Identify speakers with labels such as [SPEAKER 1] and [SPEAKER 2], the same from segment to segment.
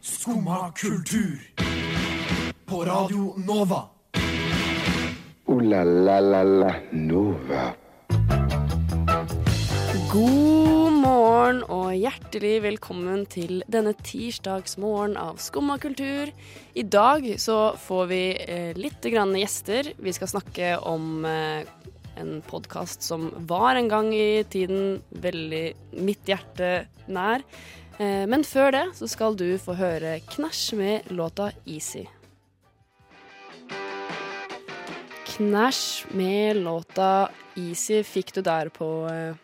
[SPEAKER 1] Skumma kultur. På Radio Nova.
[SPEAKER 2] Ooh la la la la Nova.
[SPEAKER 3] God morgen og hjertelig velkommen til denne tirsdagsmorgen av Skumma kultur. I dag så får vi eh, litt grann gjester. Vi skal snakke om eh, en podkast som var en gang i tiden veldig mitt hjerte nær. Eh, men før det så skal du få høre Knæsj med låta Easy. Knæsj med låta Easy fikk du der på eh,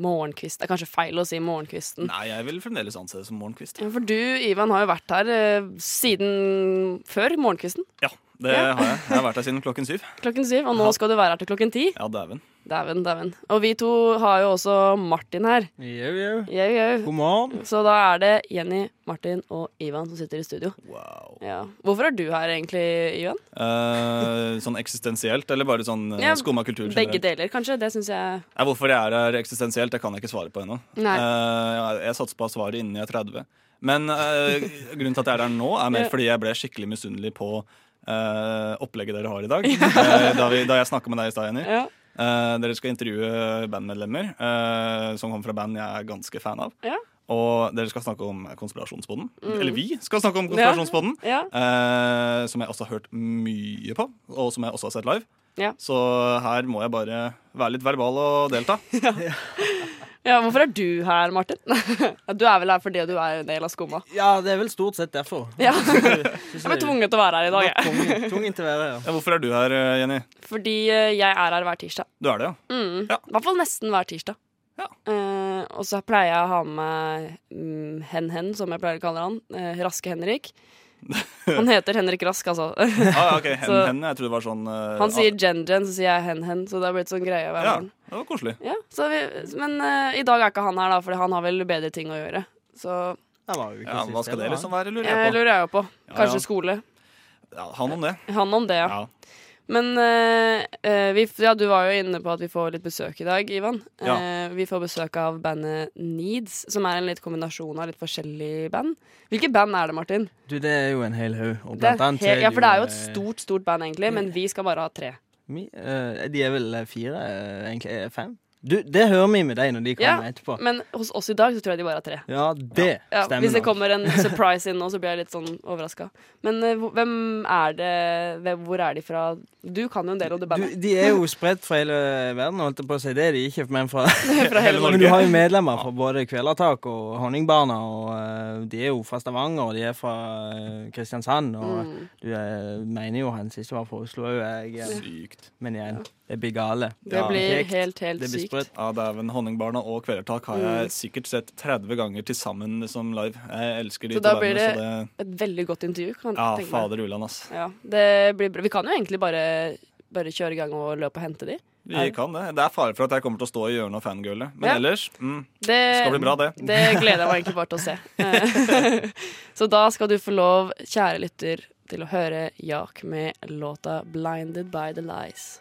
[SPEAKER 3] Morgenkvist. Det er kanskje feil å si morgenkvisten.
[SPEAKER 4] Nei, jeg vil fremdeles anse det som morgenkvist.
[SPEAKER 3] Ja, For du, Ivan, har jo vært her eh, siden før morgenkvisten.
[SPEAKER 4] Ja, det
[SPEAKER 3] Ja.
[SPEAKER 4] har jeg. Jeg har vært her siden klokken syv.
[SPEAKER 3] Klokken syv, og nå skal du være her til klokken ti.
[SPEAKER 4] Ja, dæven.
[SPEAKER 3] Dæven, dæven. Og vi to har jo også Martin her.
[SPEAKER 5] Jau, jau.
[SPEAKER 3] Jau, jau.
[SPEAKER 5] God morgen.
[SPEAKER 3] Så da er det Jenny, Martin og Ivan som sitter i studio.
[SPEAKER 4] Wow.
[SPEAKER 3] Ja. Hvorfor er du her egentlig, Ivan?
[SPEAKER 4] Eh, sånn eksistensielt, eller bare sånn
[SPEAKER 3] Ja,
[SPEAKER 4] ja, skumma kultur
[SPEAKER 3] Begge
[SPEAKER 4] generelt?
[SPEAKER 3] deler, kanskje. Det syns jeg
[SPEAKER 4] Nei, hvorfor jeg er her eksistensielt, det kan jeg ikke svare på ennå.
[SPEAKER 3] Nei.
[SPEAKER 4] Eh, jeg- jeg satser på å ha svaret innen jeg er 30. Men eh, grunnen til at jeg er der nå, er mer
[SPEAKER 3] Ja.
[SPEAKER 4] fordi jeg ble skikkelig misunnelig på eh, opplegget dere har i dag. Eh, da, vi, da jeg snakka med deg i stad, Jenny.
[SPEAKER 3] Ja.
[SPEAKER 4] Eh, dere skal intervjue bandmedlemmer eh, som kommer fra band jeg er ganske fan av.
[SPEAKER 3] Ja.
[SPEAKER 4] Og dere skal snakke om konspirasjonsboden. Eller vi skal snakke om konspirasjonsboden.
[SPEAKER 3] Mm. Ja.
[SPEAKER 4] Eh, som jeg også har hørt mye på, og som jeg også har sett live.
[SPEAKER 3] Ja.
[SPEAKER 4] Så her må jeg bare være litt verbal og delta.
[SPEAKER 3] ja, hvorfor er du her, Martin? Ja, du er vel her fordi du er en del av skumma.
[SPEAKER 5] Ja, det er vel stort sett derfor.
[SPEAKER 3] Ja. Jeg
[SPEAKER 5] Jeg
[SPEAKER 3] ble tvunget til å være her i dag, jeg.
[SPEAKER 5] Tvungen, tvungen til å være her.
[SPEAKER 4] Ja, hvorfor er du her, Jenny?
[SPEAKER 3] Fordi eh, jeg er her hver tirsdag.
[SPEAKER 4] Du er det, ja?
[SPEAKER 3] Mm.
[SPEAKER 4] Ja.
[SPEAKER 3] I hvert fall nesten hver tirsdag.
[SPEAKER 4] Ja.
[SPEAKER 3] Eh, og så pleier jeg å ha med meg mm, Hen-Hen, som jeg pleier å kalle han. eh, Raske Henrik. Han heter Henrik Rask, altså.
[SPEAKER 4] Ah, ja, ok, hen,
[SPEAKER 3] Så-
[SPEAKER 4] hen, jeg trodde det var sånn eh,
[SPEAKER 3] Han sier Jen-Jen, så sier jeg Hen-Hen. Så det har blitt sånn greie hver
[SPEAKER 4] Ja,
[SPEAKER 3] morgen.
[SPEAKER 4] det var koselig.
[SPEAKER 3] Ja, så vi, men eh, i dag er ikke han her, da, for han har vel bedre ting å gjøre. Så
[SPEAKER 5] Det var jo ikke
[SPEAKER 4] Ja,
[SPEAKER 5] sist
[SPEAKER 4] Hva skal
[SPEAKER 5] heller,
[SPEAKER 4] det liksom
[SPEAKER 5] da.
[SPEAKER 4] være, lurer
[SPEAKER 3] jeg
[SPEAKER 4] jeg på.
[SPEAKER 3] lurer jeg jo på.
[SPEAKER 4] Ja,
[SPEAKER 3] Kanskje
[SPEAKER 4] ja.
[SPEAKER 3] skole.
[SPEAKER 4] Ja, han om det.
[SPEAKER 3] Han om det, ja.
[SPEAKER 4] Ja.
[SPEAKER 3] Men eh, eh, vi, ja, du var jo inne på at vi får litt besøk i dag, Ivan. Eh,
[SPEAKER 4] Ja.
[SPEAKER 3] vi får besøk av bandet Needs, som er en litt kombinasjon av litt forskjellige band. Hvilke band er det, Martin?
[SPEAKER 5] Du, det er jo en hel haug. og
[SPEAKER 3] Det er
[SPEAKER 5] blant annet så
[SPEAKER 3] he- ja, for det er jo et
[SPEAKER 5] eh,
[SPEAKER 3] stort, stort band, egentlig, men vi skal bare ha tre.
[SPEAKER 5] mi- eh, De er vel eh, fire, eh, egentlig eh, fem. Du, det hører vi med deg når de kommer
[SPEAKER 3] Ja,
[SPEAKER 5] etterpå.
[SPEAKER 3] Men hos oss i dag så tror jeg de bare har tre.
[SPEAKER 5] Ja, det
[SPEAKER 3] Ja,
[SPEAKER 5] stemmer.
[SPEAKER 3] hvis det
[SPEAKER 5] nok.
[SPEAKER 3] kommer en surprise inn nå, så blir jeg litt sånn overraska. Men eh, hvor- hvem er det hvem, Hvor er de fra? Du kan jo en del om det
[SPEAKER 5] du,
[SPEAKER 3] bandet.
[SPEAKER 5] de er jo spredt fra hele verden, holdt jeg på å si. Det er de ikke, men fra
[SPEAKER 3] fra hele
[SPEAKER 5] Men
[SPEAKER 3] Norge.
[SPEAKER 5] du har jo medlemmer fra både Kvelertak og Honningbarna, og eh, de er jo fra Stavanger, og de er fra eh, Kristiansand, og
[SPEAKER 3] Mm.
[SPEAKER 5] du eh, mener jo han siste var fra Oslo òg, jeg. eh,
[SPEAKER 4] Sykt.
[SPEAKER 5] Men igjen, det blir gale.
[SPEAKER 3] Det
[SPEAKER 4] Ja,
[SPEAKER 3] blir
[SPEAKER 5] kjekt.
[SPEAKER 3] helt, helt
[SPEAKER 5] Det blir
[SPEAKER 3] sykt.
[SPEAKER 5] sprøtt.
[SPEAKER 4] Ja, Dæven, Honningbarna og Kvelertak har
[SPEAKER 3] Mm.
[SPEAKER 4] jeg sikkert sett 30 ganger til sammen som live. Jeg elsker de
[SPEAKER 3] Så
[SPEAKER 4] to
[SPEAKER 3] da blir
[SPEAKER 4] bandene, så det
[SPEAKER 3] Et veldig godt intervju, kan
[SPEAKER 4] Ja,
[SPEAKER 3] jeg tenke meg.
[SPEAKER 4] fader ulland, ass.
[SPEAKER 3] Ja, det blir bra. Vi kan jo egentlig bare, bare kjøre i gang og løpe og hente de.
[SPEAKER 4] Vi
[SPEAKER 3] Er det?
[SPEAKER 4] kan det. Det er fare for at jeg kommer til å stå i hjørnet og fangirle. Men
[SPEAKER 3] Ja.
[SPEAKER 4] ellers mm,
[SPEAKER 3] Det
[SPEAKER 4] skal bli bra, det.
[SPEAKER 3] Det gleder jeg meg egentlig bare til å se. Eh, Så da skal du få lov, kjære lytter, til å høre Jak med låta 'Blinded by the Lies'.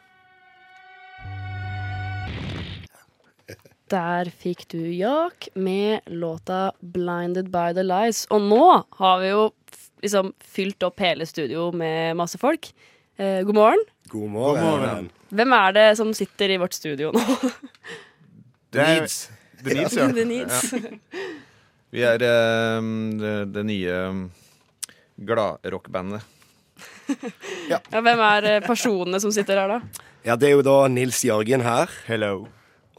[SPEAKER 3] Der fikk du Jak med låta 'Blinded by the Lies'. Og nå har vi jo f- liksom fylt opp hele studio med masse folk. Eh, god morgen.
[SPEAKER 6] God morgen.
[SPEAKER 3] Hvem er det som sitter i vårt studio nå?
[SPEAKER 7] Det er,
[SPEAKER 6] Needs.
[SPEAKER 7] The Needs, ja.
[SPEAKER 3] The Needs.
[SPEAKER 7] Vi er eh, det, det nye ehm, gladrockbandet.
[SPEAKER 3] Ja, hvem er eh, personene som sitter her, da?
[SPEAKER 6] Ja, det er jo da Nils Jørgen her.
[SPEAKER 7] Hello.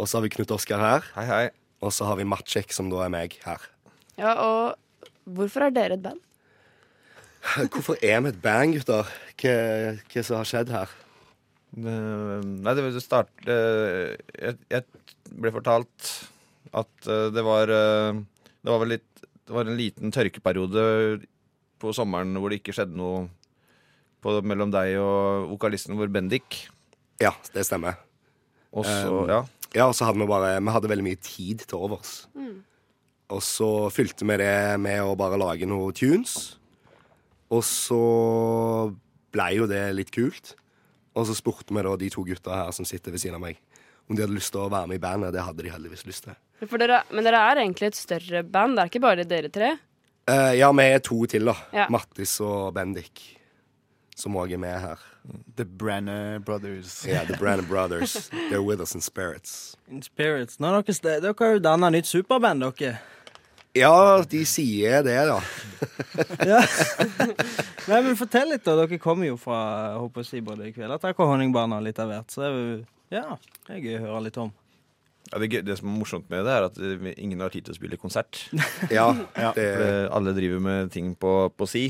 [SPEAKER 6] Og så har vi Knut Oskar her.
[SPEAKER 7] Hei, hei.
[SPEAKER 6] Og så har vi Matsjek, som da er meg her.
[SPEAKER 3] Ja, og hvorfor er dere et band?
[SPEAKER 6] Hvorfor er vi et band, gutter? Hva, hva som har skjedd her?
[SPEAKER 7] Det, nei, det, det start, eh, jeg, jeg ble fortalt at eh, det var eh, Det var vel litt Det var en liten tørkeperiode på sommeren hvor det ikke skjedde noe på, mellom deg og vokalisten vår, Bendik.
[SPEAKER 6] Ja, det stemmer.
[SPEAKER 7] Og så,
[SPEAKER 6] Um,
[SPEAKER 7] ja.
[SPEAKER 6] Ja, og så hadde vi bare Vi hadde veldig mye tid til overs. Og så fylte vi det med å bare lage noen tunes. Og så blei jo det litt kult. Og så spurte vi da de to gutta her som sitter ved siden av meg, om de hadde lyst til å være med i bandet. Det hadde de heldigvis lyst til.
[SPEAKER 3] For dere, men dere er egentlig et større band. Det er ikke bare dere tre.
[SPEAKER 6] Eh, ja, vi er to til, da.
[SPEAKER 3] Ja.
[SPEAKER 6] Mattis og Bendik. Som òg er med her.
[SPEAKER 8] The Branner Brothers.
[SPEAKER 6] Ja, The Brannan Brothers. They're with us in spirits.
[SPEAKER 5] In spirits. Nå, dere, ste- dere har jo danna nytt superband, dere.
[SPEAKER 6] Ja, de sier det, da.
[SPEAKER 5] Ja. Nei, men fortell litt, da. Dere kommer jo fra jeg håper å si, både Kvelertak og Honningbarna litt av hvert. Så det er jo- ja, det er gøy å høre litt om.
[SPEAKER 7] Ja, det, gøy- det som er morsomt med det, er at eh, vi- ingen har tid til å spille konsert.
[SPEAKER 6] Ja,
[SPEAKER 8] Ja,
[SPEAKER 6] det
[SPEAKER 7] For det- alle driver med ting på, på si.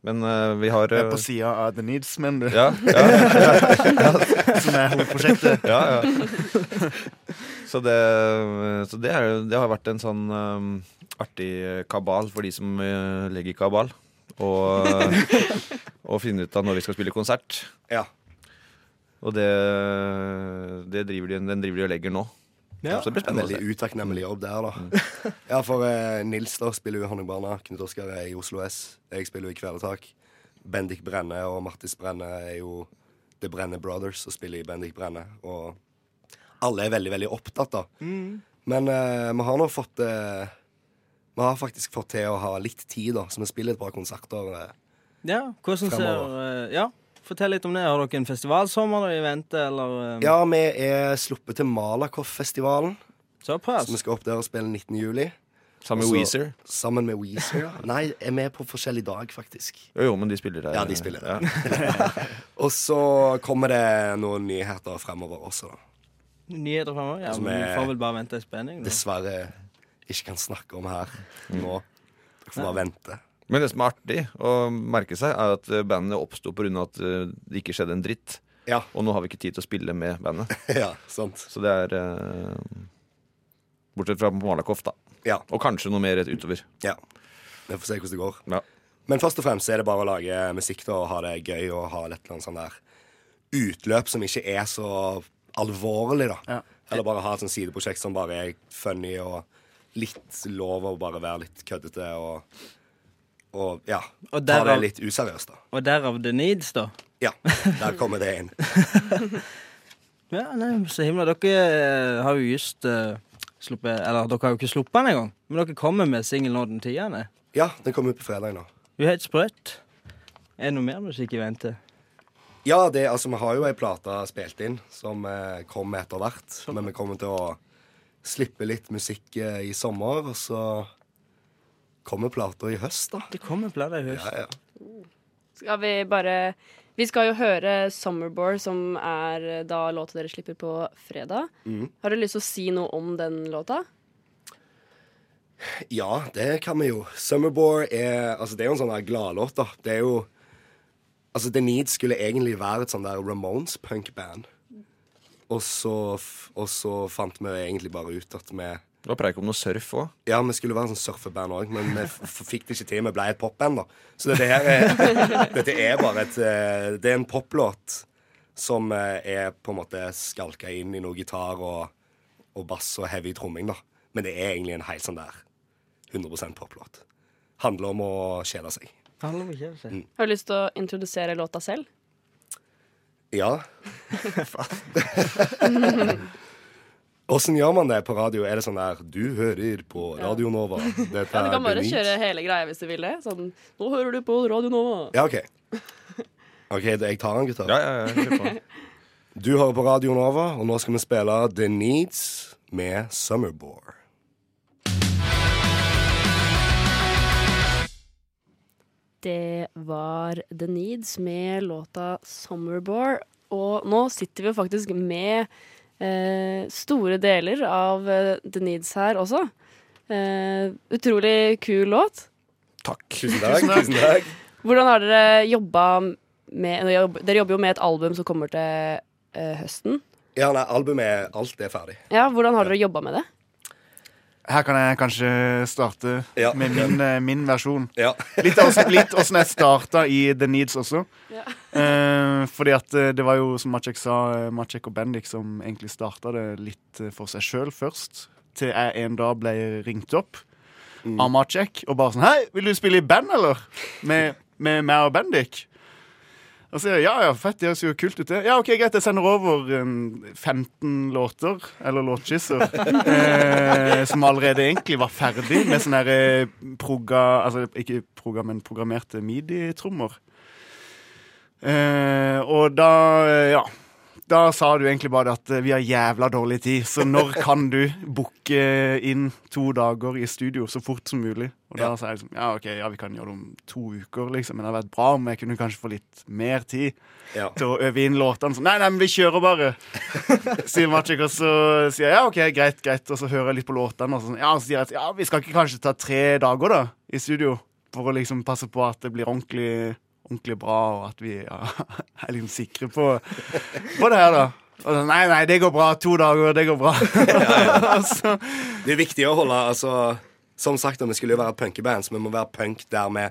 [SPEAKER 7] Men eh, vi har
[SPEAKER 8] Det
[SPEAKER 7] eh,
[SPEAKER 8] er på sida av The Needs, men det,
[SPEAKER 7] Ja, ja,
[SPEAKER 8] som er hovedprosjektet.
[SPEAKER 7] ja, ja. Så, det, eh, så det, er, jo- det har vært en sånn eh, artig eh, kabal for de som eh, legger kabal. Og, og finne ut av når vi skal spille konsert.
[SPEAKER 6] Ja.
[SPEAKER 7] Og det, det driver de, den driver de og legger nå.
[SPEAKER 5] Ja.
[SPEAKER 7] Så det
[SPEAKER 6] En
[SPEAKER 7] blir spennende å
[SPEAKER 6] veldig
[SPEAKER 7] se.
[SPEAKER 6] utakknemlig jobb der, da. Ja, for eh, Nils da spiller jo i Honningbarna, Knut Oskar er i Oslo S, jeg spiller jo i Kvelertak. Bendik Brenne og Mattis Brenne er jo The Brenne Brothers og spiller i Bendik Brenne. Og alle er veldig, veldig opptatt, da. Men eh, vi har nå fått eh, Vi har faktisk fått til å ha litt tid, da, så vi spiller et par konserter. eh.
[SPEAKER 5] Ja, hvordan ser
[SPEAKER 6] Fremover.
[SPEAKER 5] eh, Ja, fortell litt om det. Har dere en festivalsommer i vente, eller eh,
[SPEAKER 6] Ja, vi er sluppet til Malakoff-festivalen,
[SPEAKER 5] såpass?
[SPEAKER 6] så vi skal opp der og spille 19. juli.
[SPEAKER 7] Sammen med
[SPEAKER 6] Også-
[SPEAKER 7] Weezer.
[SPEAKER 6] Sammen med Weezer. ja. Nei, er vi på forskjellig dag, faktisk.
[SPEAKER 7] Jo, jo, men de spiller der.
[SPEAKER 6] Ja, de spiller der.
[SPEAKER 7] Ja.
[SPEAKER 6] Og så kommer det noen nyheter fremover også, da.
[SPEAKER 5] Nyheter fremover? Ja,
[SPEAKER 6] Som
[SPEAKER 5] men vi
[SPEAKER 6] er-
[SPEAKER 5] får vel bare vente i spenning. Da.
[SPEAKER 6] Dessverre ikke kan snakke om her nå. Dere får bare vente.
[SPEAKER 7] Men det som er artig å merke seg, er at eh, bandet oppsto pga. at eh, det ikke skjedde en dritt.
[SPEAKER 6] Ja,
[SPEAKER 7] Og nå har vi ikke tid til å spille med bandet.
[SPEAKER 6] ja, sant.
[SPEAKER 7] Så det er eh, Bortsett fra Malakoff, da.
[SPEAKER 6] Ja,
[SPEAKER 7] Og kanskje noe mer rett utover.
[SPEAKER 6] ja. Vi får se hvordan det går.
[SPEAKER 7] Ja.
[SPEAKER 6] Men først og fremst er det bare å lage musikk da, og ha det gøy og ha et eller annet sånn der utløp som ikke er så alvorlig, da.
[SPEAKER 8] Ja.
[SPEAKER 6] Eller bare ha et sånt sideprosjekt som bare er funny og litt lov å bare være litt køddete og, og ja,
[SPEAKER 5] Og
[SPEAKER 6] ta det
[SPEAKER 5] derav-
[SPEAKER 6] litt useriøst, da.
[SPEAKER 5] Og derav The Needs, da.
[SPEAKER 6] Ja, der kommer det inn.
[SPEAKER 5] Ja, nei, så himla. Dere eh, har jo just eh, sluppet Eller dere har jo ikke sluppet den engang, men dere kommer med singel nå den tiende.
[SPEAKER 6] Ja, den kommer ut på fredag nå.
[SPEAKER 5] Du er helt sprøtt. Er det noe mer musikk i vente?
[SPEAKER 6] Ja, det, altså, vi har jo ei plate spilt inn som eh, kom etter hvert. Men vi kommer til å slippe litt musikk eh, i sommer, og så kommer plata i høst, da.
[SPEAKER 5] Det kommer plater i høst.
[SPEAKER 6] Ja, ja.
[SPEAKER 3] Skal vi bare Vi skal jo høre Summerbore, som er eh, da låta dere slipper på fredag. Har du lyst til å si noe om den låta?
[SPEAKER 6] Ja, det kan vi jo. Summerbore er Altså, det er jo en sånn der gladlåt, da. Det er jo Altså, The Need skulle egentlig være et sånn der Ramones-punkband. Og så, f- og så fant vi egentlig bare ut at vi
[SPEAKER 7] Det var preik om noe surf òg.
[SPEAKER 6] Ja, vi skulle være en sånn surfeband òg, men vi f- f- fikk det ikke til. Vi ble et popband, da. Så dette her er, dette er bare et eh, Det er en poplåt som eh, er på en måte skalka inn i noe gitar og, og bass og heavy tromming, da. Men det er egentlig en helt sånn der 100 poplåt. Handler om å kjede seg.
[SPEAKER 5] Det handler om å kjede seg.
[SPEAKER 3] Har du lyst til å introdusere låta selv?
[SPEAKER 6] Ja. Åssen gjør man det på radio? Er det sånn der Du hører på Radio Nova.
[SPEAKER 3] Ja,
[SPEAKER 6] Dette
[SPEAKER 3] Du kan
[SPEAKER 6] er
[SPEAKER 3] bare
[SPEAKER 6] Beneath.
[SPEAKER 3] kjøre hele greia hvis du vil det. Sånn Nå hører du på Radio Nova.
[SPEAKER 6] Ja, OK. OK, da- jeg tar den, gutter.
[SPEAKER 7] Ja, ja, ja, kjør på.
[SPEAKER 6] Du hører på Radio Nova, og nå skal vi spille The Needs med Summerbore.
[SPEAKER 3] Det var The Needs med låta 'Summerbore'. Og nå sitter vi jo faktisk med eh, store deler av eh, The Needs her også. Eh, utrolig kul låt.
[SPEAKER 6] Takk. Tusen takk. Tusen takk.
[SPEAKER 3] Hvordan har dere jobba med Dere jobb- Dere jobber jo med et album som kommer til eh, høsten.
[SPEAKER 6] Ja, nei, albumet er Alt er ferdig.
[SPEAKER 3] Ja, Hvordan har dere jobba med det?
[SPEAKER 8] Her kan jeg kanskje starte
[SPEAKER 6] Ja.
[SPEAKER 8] med min, eh, min versjon.
[SPEAKER 6] Ja.
[SPEAKER 8] Litt av åssen- litt åssen jeg starta i The Needs også.
[SPEAKER 3] Ja.
[SPEAKER 8] Eh, fordi at eh, det var jo, som Maciek sa, eh, Maciek og Bendik som egentlig starta det litt eh, for seg sjøl først. Til jeg en dag ble ringt opp av Maciek og bare sånn Hei, vil du spille i band, eller? Med, med meg og Bendik. Og så sier jeg ja, ja, fett, det høres jo kult ut, det. Ja, OK, greit, jeg sender over en 15 låter, eller låtskisser, eh, som allerede egentlig var ferdig, med sånne her, eh, proga... Altså ikke proga, men programmerte midi-trommer. Eh, og da, eh, ja Da sa du egentlig bare at eh, vi har jævla dårlig tid, så når kan du booke inn to dager i studio så fort som mulig? Og da sa jeg liksom ja, OK, ja, vi kan gjøre det om to uker, liksom, men det hadde vært bra om jeg kunne kanskje få litt mer tid
[SPEAKER 6] Ja.
[SPEAKER 8] til å øve inn låtene. Så nei, nei, men vi kjører bare, sier Maciek. Og så sier jeg ja, OK, greit, greit. Og så hører jeg litt på låtene, og så, sånn, ja, og så sier jeg at ja, vi skal ikke kanskje ta tre dager, da, i studio, for å liksom passe på at det blir ordentlig ordentlig bra, og at vi ja, er liksom sikre på, på det her, da. Og så, nei, nei, det går bra. To dager, det går bra. Og så,
[SPEAKER 6] Det er viktig å holde altså, Som sagt, vi skulle jo være et punkeband, så vi må være punk der vi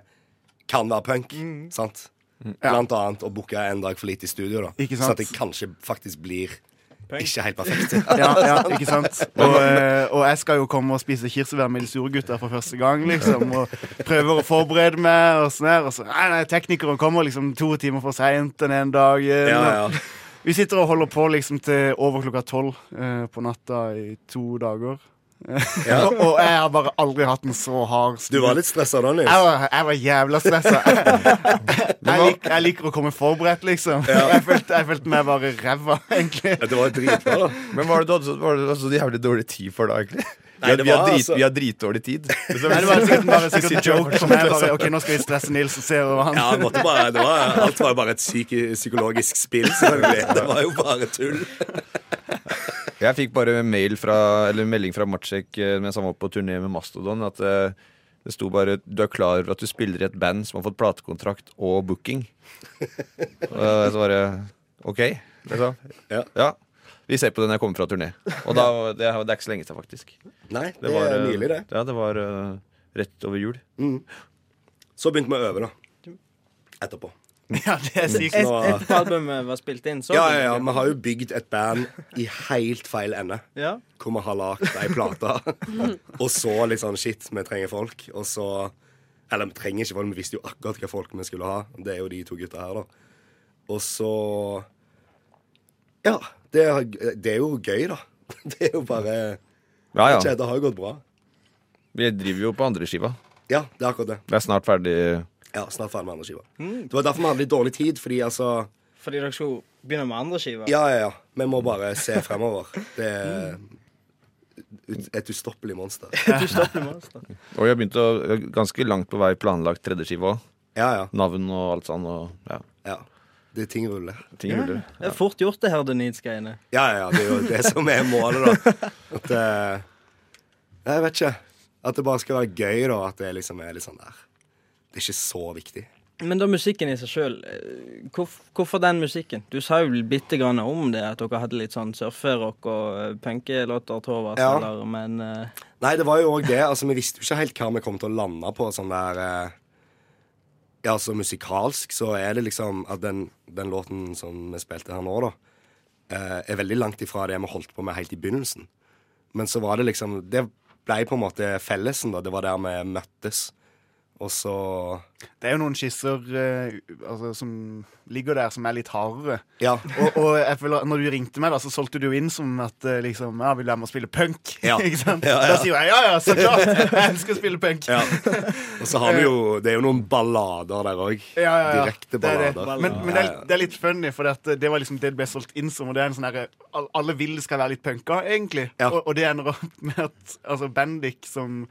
[SPEAKER 6] kan være punk. Sant? Blant annet å booke en dag for lite i studio, da.
[SPEAKER 8] Ikke
[SPEAKER 6] Så
[SPEAKER 8] sant?
[SPEAKER 6] at det kanskje faktisk blir ikke helt perfekt.
[SPEAKER 8] ja, ja, ikke sant? Og, eh, og jeg skal jo komme og spise kirsebær med de store gutta for første gang, liksom. Og prøver å forberede meg, og sånn her. Og så, nei, nei, teknikeren kommer liksom to timer for seint den ene dagen.
[SPEAKER 6] Ja, ja.
[SPEAKER 8] Vi sitter og holder på liksom til over klokka tolv eh, på natta i to dager.
[SPEAKER 6] Ja.
[SPEAKER 8] og, og jeg har bare aldri hatt en så hard
[SPEAKER 6] Du var litt stressa da, Nils.
[SPEAKER 8] Jeg var, jeg var jævla stressa. Jeg, lik, jeg liker å komme forberedt, liksom. Jeg følte, jeg følte meg bare ræva, egentlig.
[SPEAKER 6] Ja, Det var dritbra, da.
[SPEAKER 7] Men hva er det du hadde så- hva er det du hadde så jævlig dårlig tid for da, egentlig?
[SPEAKER 6] Nei, det
[SPEAKER 7] vi, har
[SPEAKER 6] var
[SPEAKER 7] drit,
[SPEAKER 6] altså-
[SPEAKER 7] vi har dritdårlig tid. Det
[SPEAKER 8] Nei, det var altså- sikkert bare sikkert en
[SPEAKER 7] sitter og
[SPEAKER 8] joke for meg. Bare, ok, nå skal vi stresse Nils og se hva han
[SPEAKER 6] Ja, jeg måtte bare, det var, alt var jo bare et psyki- psykologisk spill, selvfølgelig. Det var jo bare tull.
[SPEAKER 7] Jeg fikk bare mail fra, eller melding fra Matsjek eh, mens han var på turné med Mastodon. At eh, det sto bare 'Du er klar over at du spiller i et band som har fått platekontrakt og booking'. Og så bare OK, liksom.
[SPEAKER 6] Ja.
[SPEAKER 7] ja. Vi ser på det når jeg kommer fra turné. Og da, var- det, er- det er ikke så lenge siden, faktisk.
[SPEAKER 6] Nei, det, var
[SPEAKER 7] eh,
[SPEAKER 6] nylig, det.
[SPEAKER 7] Ja, det var eh, rett over jul.
[SPEAKER 6] Så begynte vi å øve, da. Etterpå.
[SPEAKER 8] Ja, det er sykt.
[SPEAKER 6] Nå,
[SPEAKER 5] Et på albumet var spilt inn, så
[SPEAKER 6] ja, ja, ja, Vi har jo bygd et band i helt feil ende.
[SPEAKER 5] ja.
[SPEAKER 6] Hvor vi har lagd ei plate, og så litt sånn shit, vi trenger folk. Og så Eller vi trenger ikke folk, vi visste jo akkurat hva folk vi skulle ha. Det er jo de to gutta her, da. Og så Ja. Det er, det er jo gøy, da. Det er jo bare
[SPEAKER 7] Ja, ja.
[SPEAKER 6] Ikke, Det har jo gått bra.
[SPEAKER 7] Vi driver jo på andre skiva.
[SPEAKER 6] Ja, det er akkurat det.
[SPEAKER 7] Vi er snart ferdig.
[SPEAKER 6] Ja, Snart ferdig med andre skiva. Det var derfor vi hadde litt dårlig tid, fordi altså
[SPEAKER 5] Fordi dere skulle begynne med andre skiver.
[SPEAKER 6] Ja, ja, ja. Vi må bare se fremover. Det er ut- et ustoppelig monster.
[SPEAKER 5] Du stopper med oss, da.
[SPEAKER 7] Og vi har begynt å eh, ganske langt på vei planlagt tredje skive òg.
[SPEAKER 6] Ja, ja.
[SPEAKER 7] Navn og alt sånn. Og, ja,
[SPEAKER 6] ja. Det er ting ruller.
[SPEAKER 7] ting ruller.
[SPEAKER 5] Det er fort gjort, det her Denitz-greiene.
[SPEAKER 6] Ja, ja, ja. Det er jo det som er målet, da. At eh, Jeg vet ikke. At det bare skal være gøy, da. At det liksom er litt sånn der Det er ikke så viktig.
[SPEAKER 5] Men da musikken i seg sjøl, hvorfor den musikken? Du sa jo bitte grann om det, at dere hadde litt sånn surferock og eh, punkelåter, Torvald,
[SPEAKER 6] Ja.
[SPEAKER 5] eller, men eh,
[SPEAKER 6] Nei, det var jo òg det. Altså, vi visste jo ikke helt hva vi kom til å lande på sånn der eh, Ja, altså musikalsk så er det liksom at den, den låten som vi spilte her nå, da, eh, er veldig langt ifra det vi holdt på med helt i begynnelsen. Men så var det liksom Det blei på en måte fellesen, da. Det var der vi møttes. Og så
[SPEAKER 8] Det er jo noen skisser eh, altså, som ligger der, som er litt hardere.
[SPEAKER 6] Ja.
[SPEAKER 8] Og, og jeg føler at når du ringte meg, da, så solgte du jo inn som at eh, liksom, ja, vil du være med og spille punk?
[SPEAKER 6] Ja.
[SPEAKER 8] ikke sant?
[SPEAKER 6] Ja, ja.
[SPEAKER 8] Da sier jeg ja, ja, så klart! Jeg elsker å spille punk.
[SPEAKER 6] ja. Og så har vi jo Det er jo noen ballader der òg.
[SPEAKER 8] Ja, ja, ja.
[SPEAKER 6] Direkte
[SPEAKER 8] Det er det.
[SPEAKER 6] ballader.
[SPEAKER 8] Men, men det, er, det er litt funny, for det, det var liksom det det ble solgt inn som. Og det er en sånn herre all- Alle vil det skal være litt punka, egentlig.
[SPEAKER 6] Ja.
[SPEAKER 8] Og, og det ender opp med at altså Bendik, som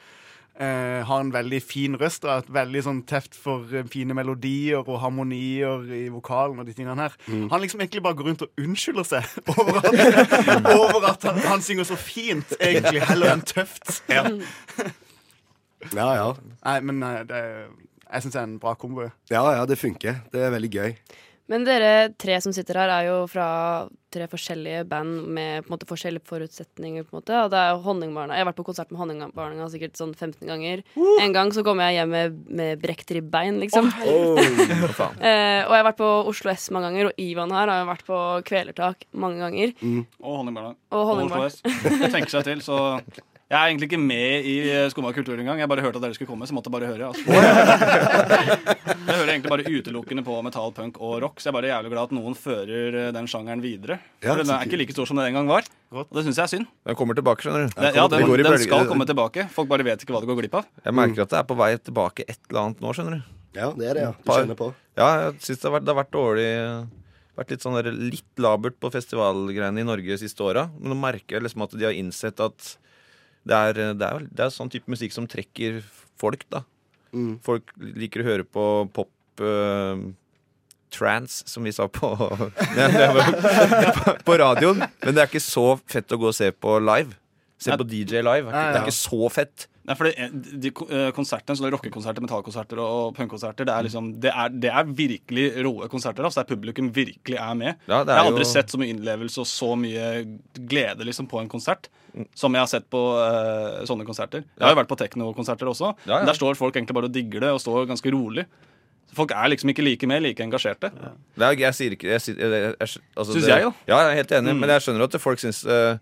[SPEAKER 8] eh, har en veldig fin røst og har et veldig sånn teft for eh, fine melodier og harmonier i vokalen, og de tingene her
[SPEAKER 6] Mm.
[SPEAKER 8] han liksom egentlig bare går rundt og unnskylder seg over at, over at han, han synger så fint, egentlig, heller enn tøft.
[SPEAKER 6] Ja, ja.
[SPEAKER 8] Nei, men eh, det, jeg syns det er en bra kombo.
[SPEAKER 6] Ja, ja, det funker. Det er veldig gøy.
[SPEAKER 3] Men dere tre som sitter her, er jo fra tre forskjellige band med på en måte, forskjellige forutsetninger. på en måte Og det er jo Honningbarna Jeg har vært på konsert med Honningbarna sikkert sånn 15 ganger. En gang så kom jeg hjem med, med brekt ribbein, liksom. eh, og jeg har vært på Oslo S mange ganger, og Ivan her har jo vært på Kvelertak mange ganger.
[SPEAKER 4] Og honningbarna.
[SPEAKER 3] Og
[SPEAKER 4] Og Oslo
[SPEAKER 3] Honningbarna
[SPEAKER 4] S. Det tenker seg til, så Jeg er egentlig ikke med i eh, Skumma kultur engang. Jeg bare hørte at dere skulle komme, så måtte jeg bare høre. Altså. Jeg hører egentlig bare utelukkende på metal, punk og rock, så jeg er bare jævlig glad at noen fører eh, den sjangeren videre.
[SPEAKER 6] Ja,
[SPEAKER 4] For den er ikke like stor som den en gang var, og det syns jeg er synd.
[SPEAKER 7] Den kommer tilbake, skjønner du.
[SPEAKER 4] Det, ja, den,
[SPEAKER 6] det går i
[SPEAKER 4] den
[SPEAKER 6] bølger.
[SPEAKER 4] skal komme tilbake. Folk bare vet ikke hva de går glipp av.
[SPEAKER 7] Jeg merker at det er på vei tilbake et eller annet nå, skjønner du.
[SPEAKER 6] Ja, det er det, ja. Du
[SPEAKER 7] Par-
[SPEAKER 6] kjenner på.
[SPEAKER 7] Ja, jeg synes det har vært, det har vært dårlig vært litt, sånn der, litt labert på festivalgreiene i Norge de siste åra. Men nå merker jeg liksom at de har innsett at det er, det er, det er sånn type musikk som trekker folk, da.
[SPEAKER 6] Mm.
[SPEAKER 7] Folk liker å høre på pop eh, trance, som vi sa på, Nei, det var- på radioen. Men det er ikke så fett å gå og se på live. Se på DJ live. Det er ikke så fett.
[SPEAKER 4] Nei, for det, de ko- eh, konsertene, så det er rockekonserter, metallkonserter og punkkonserter,
[SPEAKER 7] Mm.
[SPEAKER 4] det er liksom Det er, det er virkelig råe konserter, altså, der publikum virkelig er med.
[SPEAKER 7] Ja, det er
[SPEAKER 4] jeg har aldri
[SPEAKER 7] jo-
[SPEAKER 4] sett så mye innlevelse og så mye glede liksom, på en konsert
[SPEAKER 7] Mm.
[SPEAKER 4] som jeg har sett på eh, sånne konserter. Jeg har jo vært på teknokonserter også,
[SPEAKER 7] Ja, ja.
[SPEAKER 4] men der står folk egentlig bare og digger det og står ganske rolig. Folk er liksom ikke like med, like engasjerte.
[SPEAKER 7] Det er, jeg sier ikke jeg, sier- jeg, jeg, altså,
[SPEAKER 4] Synes
[SPEAKER 7] det,
[SPEAKER 4] jeg, Mm. da.
[SPEAKER 7] Ja, jeg er helt enig, men jeg skjønner at folk syns eh,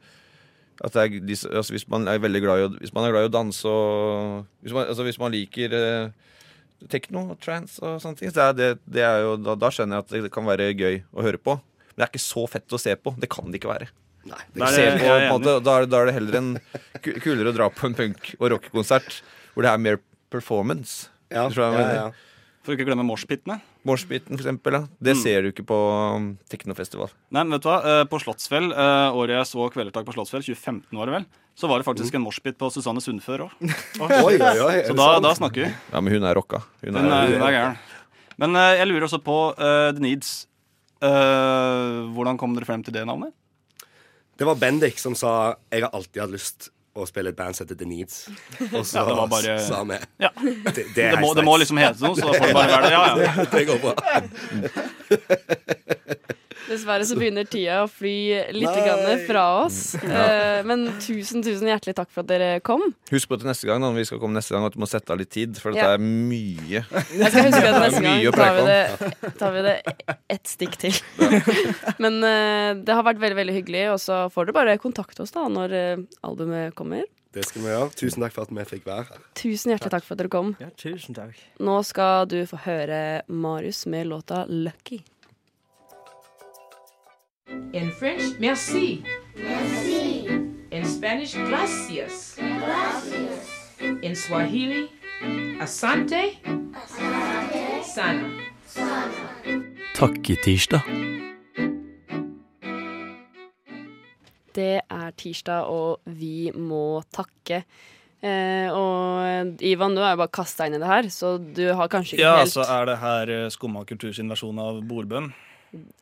[SPEAKER 7] at det er, de, altså, hvis, man er veldig glad i, å- hvis man er glad i å danse og Hvis man, altså, hvis man liker eh, tekno og trance og sånne ting, så er det, det er jo, da, da skjønner jeg at det kan være gøy å høre på. Men det er ikke så fett å se på. Det kan det ikke være.
[SPEAKER 6] Nei, det
[SPEAKER 4] Nei,
[SPEAKER 6] er
[SPEAKER 7] Se
[SPEAKER 4] jeg-
[SPEAKER 7] på,
[SPEAKER 4] Eh, jeg er
[SPEAKER 7] på en måte, da, er- da er det heller en ku- kulere å dra på en punk- og rockekonsert hvor det er mer performance.
[SPEAKER 6] ja,
[SPEAKER 7] Du tror jeg
[SPEAKER 6] ja,
[SPEAKER 7] mener.
[SPEAKER 6] ja.
[SPEAKER 4] For å ikke glemme moshpitene.
[SPEAKER 7] Moshpiten, for eksempel. Da. Det
[SPEAKER 4] Mm.
[SPEAKER 7] ser du ikke på um, teknofestival.
[SPEAKER 4] Nei, men vet du hva? Eh, På Slottsfjell, eh, året jeg så Kvelertak på Slottsfjell, 2015 var det vel, så var det faktisk en moshpit på Susanne Sundfør òg.
[SPEAKER 6] Oi, oi, oi.
[SPEAKER 4] Så
[SPEAKER 6] er det
[SPEAKER 4] da,
[SPEAKER 6] sant?
[SPEAKER 4] da snakker vi.
[SPEAKER 7] Ja, men hun er rocka. Hun
[SPEAKER 4] Hun er,
[SPEAKER 7] er,
[SPEAKER 4] hun er gæren. Men eh, jeg lurer også på eh, The Needs. Eh, hvordan kom dere frem til det navnet?
[SPEAKER 6] Det var Bendik som sa Jeg har alltid hatt lyst å spille et band som heter The Needs. Og så
[SPEAKER 4] det var bare-
[SPEAKER 6] sa vi
[SPEAKER 4] Ja.
[SPEAKER 6] Det,
[SPEAKER 4] Det
[SPEAKER 6] er
[SPEAKER 4] må,
[SPEAKER 6] helt
[SPEAKER 4] det må
[SPEAKER 6] nice.
[SPEAKER 4] liksom hete noe, så da får det bare være det. Ja, ja.
[SPEAKER 6] Det går bra.
[SPEAKER 3] Dessverre så begynner tida å fly litt
[SPEAKER 6] Nei.
[SPEAKER 3] grann fra oss. Eh, Men tusen, tusen hjertelig takk for at dere kom.
[SPEAKER 7] Husk på til neste gang da, når vi skal komme neste gang, at du må sette av litt tid, for
[SPEAKER 3] Ja.
[SPEAKER 7] dette er mye.
[SPEAKER 3] Jeg skal huske at neste gang
[SPEAKER 7] Mye å
[SPEAKER 3] tar vi,
[SPEAKER 7] prate
[SPEAKER 3] det, tar vi det ett stikk til. Men eh, det har vært veldig veldig hyggelig, og så får dere bare kontakte oss da når eh, albumet kommer.
[SPEAKER 6] Det skal vi gjøre. Tusen takk for at vi fikk være her.
[SPEAKER 3] Tusen hjertelig takk for at dere kom.
[SPEAKER 5] Ja, tusen takk.
[SPEAKER 3] Nå skal du få høre Marius med låta 'Lucky'.
[SPEAKER 9] In French, merci. Merci. In Spanish, gracias. Gracias. In Swahili, asante. Asante. Sana.
[SPEAKER 3] Det er tirsdag, og vi må takke. Eh, og Ivan, du er jo bare kasta inn i det her, så du har kanskje ikke
[SPEAKER 4] ja, altså,
[SPEAKER 3] helt
[SPEAKER 4] så er det her eh, Skumma kultur sin versjon av bordbønn.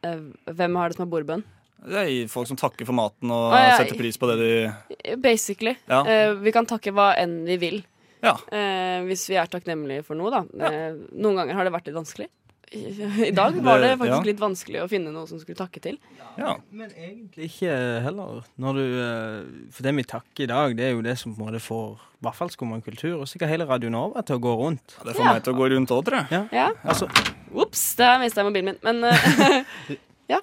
[SPEAKER 3] eh, Hvem har det som er bordbønn?
[SPEAKER 4] Det er folk som takker for maten og
[SPEAKER 3] Å, ja.
[SPEAKER 4] setter pris på det de
[SPEAKER 3] Basically.
[SPEAKER 4] Ja.
[SPEAKER 3] Eh, vi kan takke hva enn vi vil.
[SPEAKER 4] Ja.
[SPEAKER 3] Eh, hvis vi er takknemlige for noe, da. Eh, noen ganger har det vært litt vanskelig. I dag var det
[SPEAKER 4] Det-
[SPEAKER 3] faktisk
[SPEAKER 4] ja.
[SPEAKER 3] litt vanskelig å finne noe som skulle takke til.
[SPEAKER 4] ja.
[SPEAKER 5] Men egentlig ikke heller. Når du, eh, for det vi takker i dag, det er jo det som på en måte får i hvert fall Skumma kultur, og sikkert hele Radio Nova til å gå rundt.
[SPEAKER 4] Det får
[SPEAKER 3] Ja.
[SPEAKER 4] meg til å gå rundt òg, tror jeg.
[SPEAKER 3] Ja.
[SPEAKER 5] Altså,
[SPEAKER 3] Ops, der mista jeg mobilen min. Men eh,
[SPEAKER 5] ja,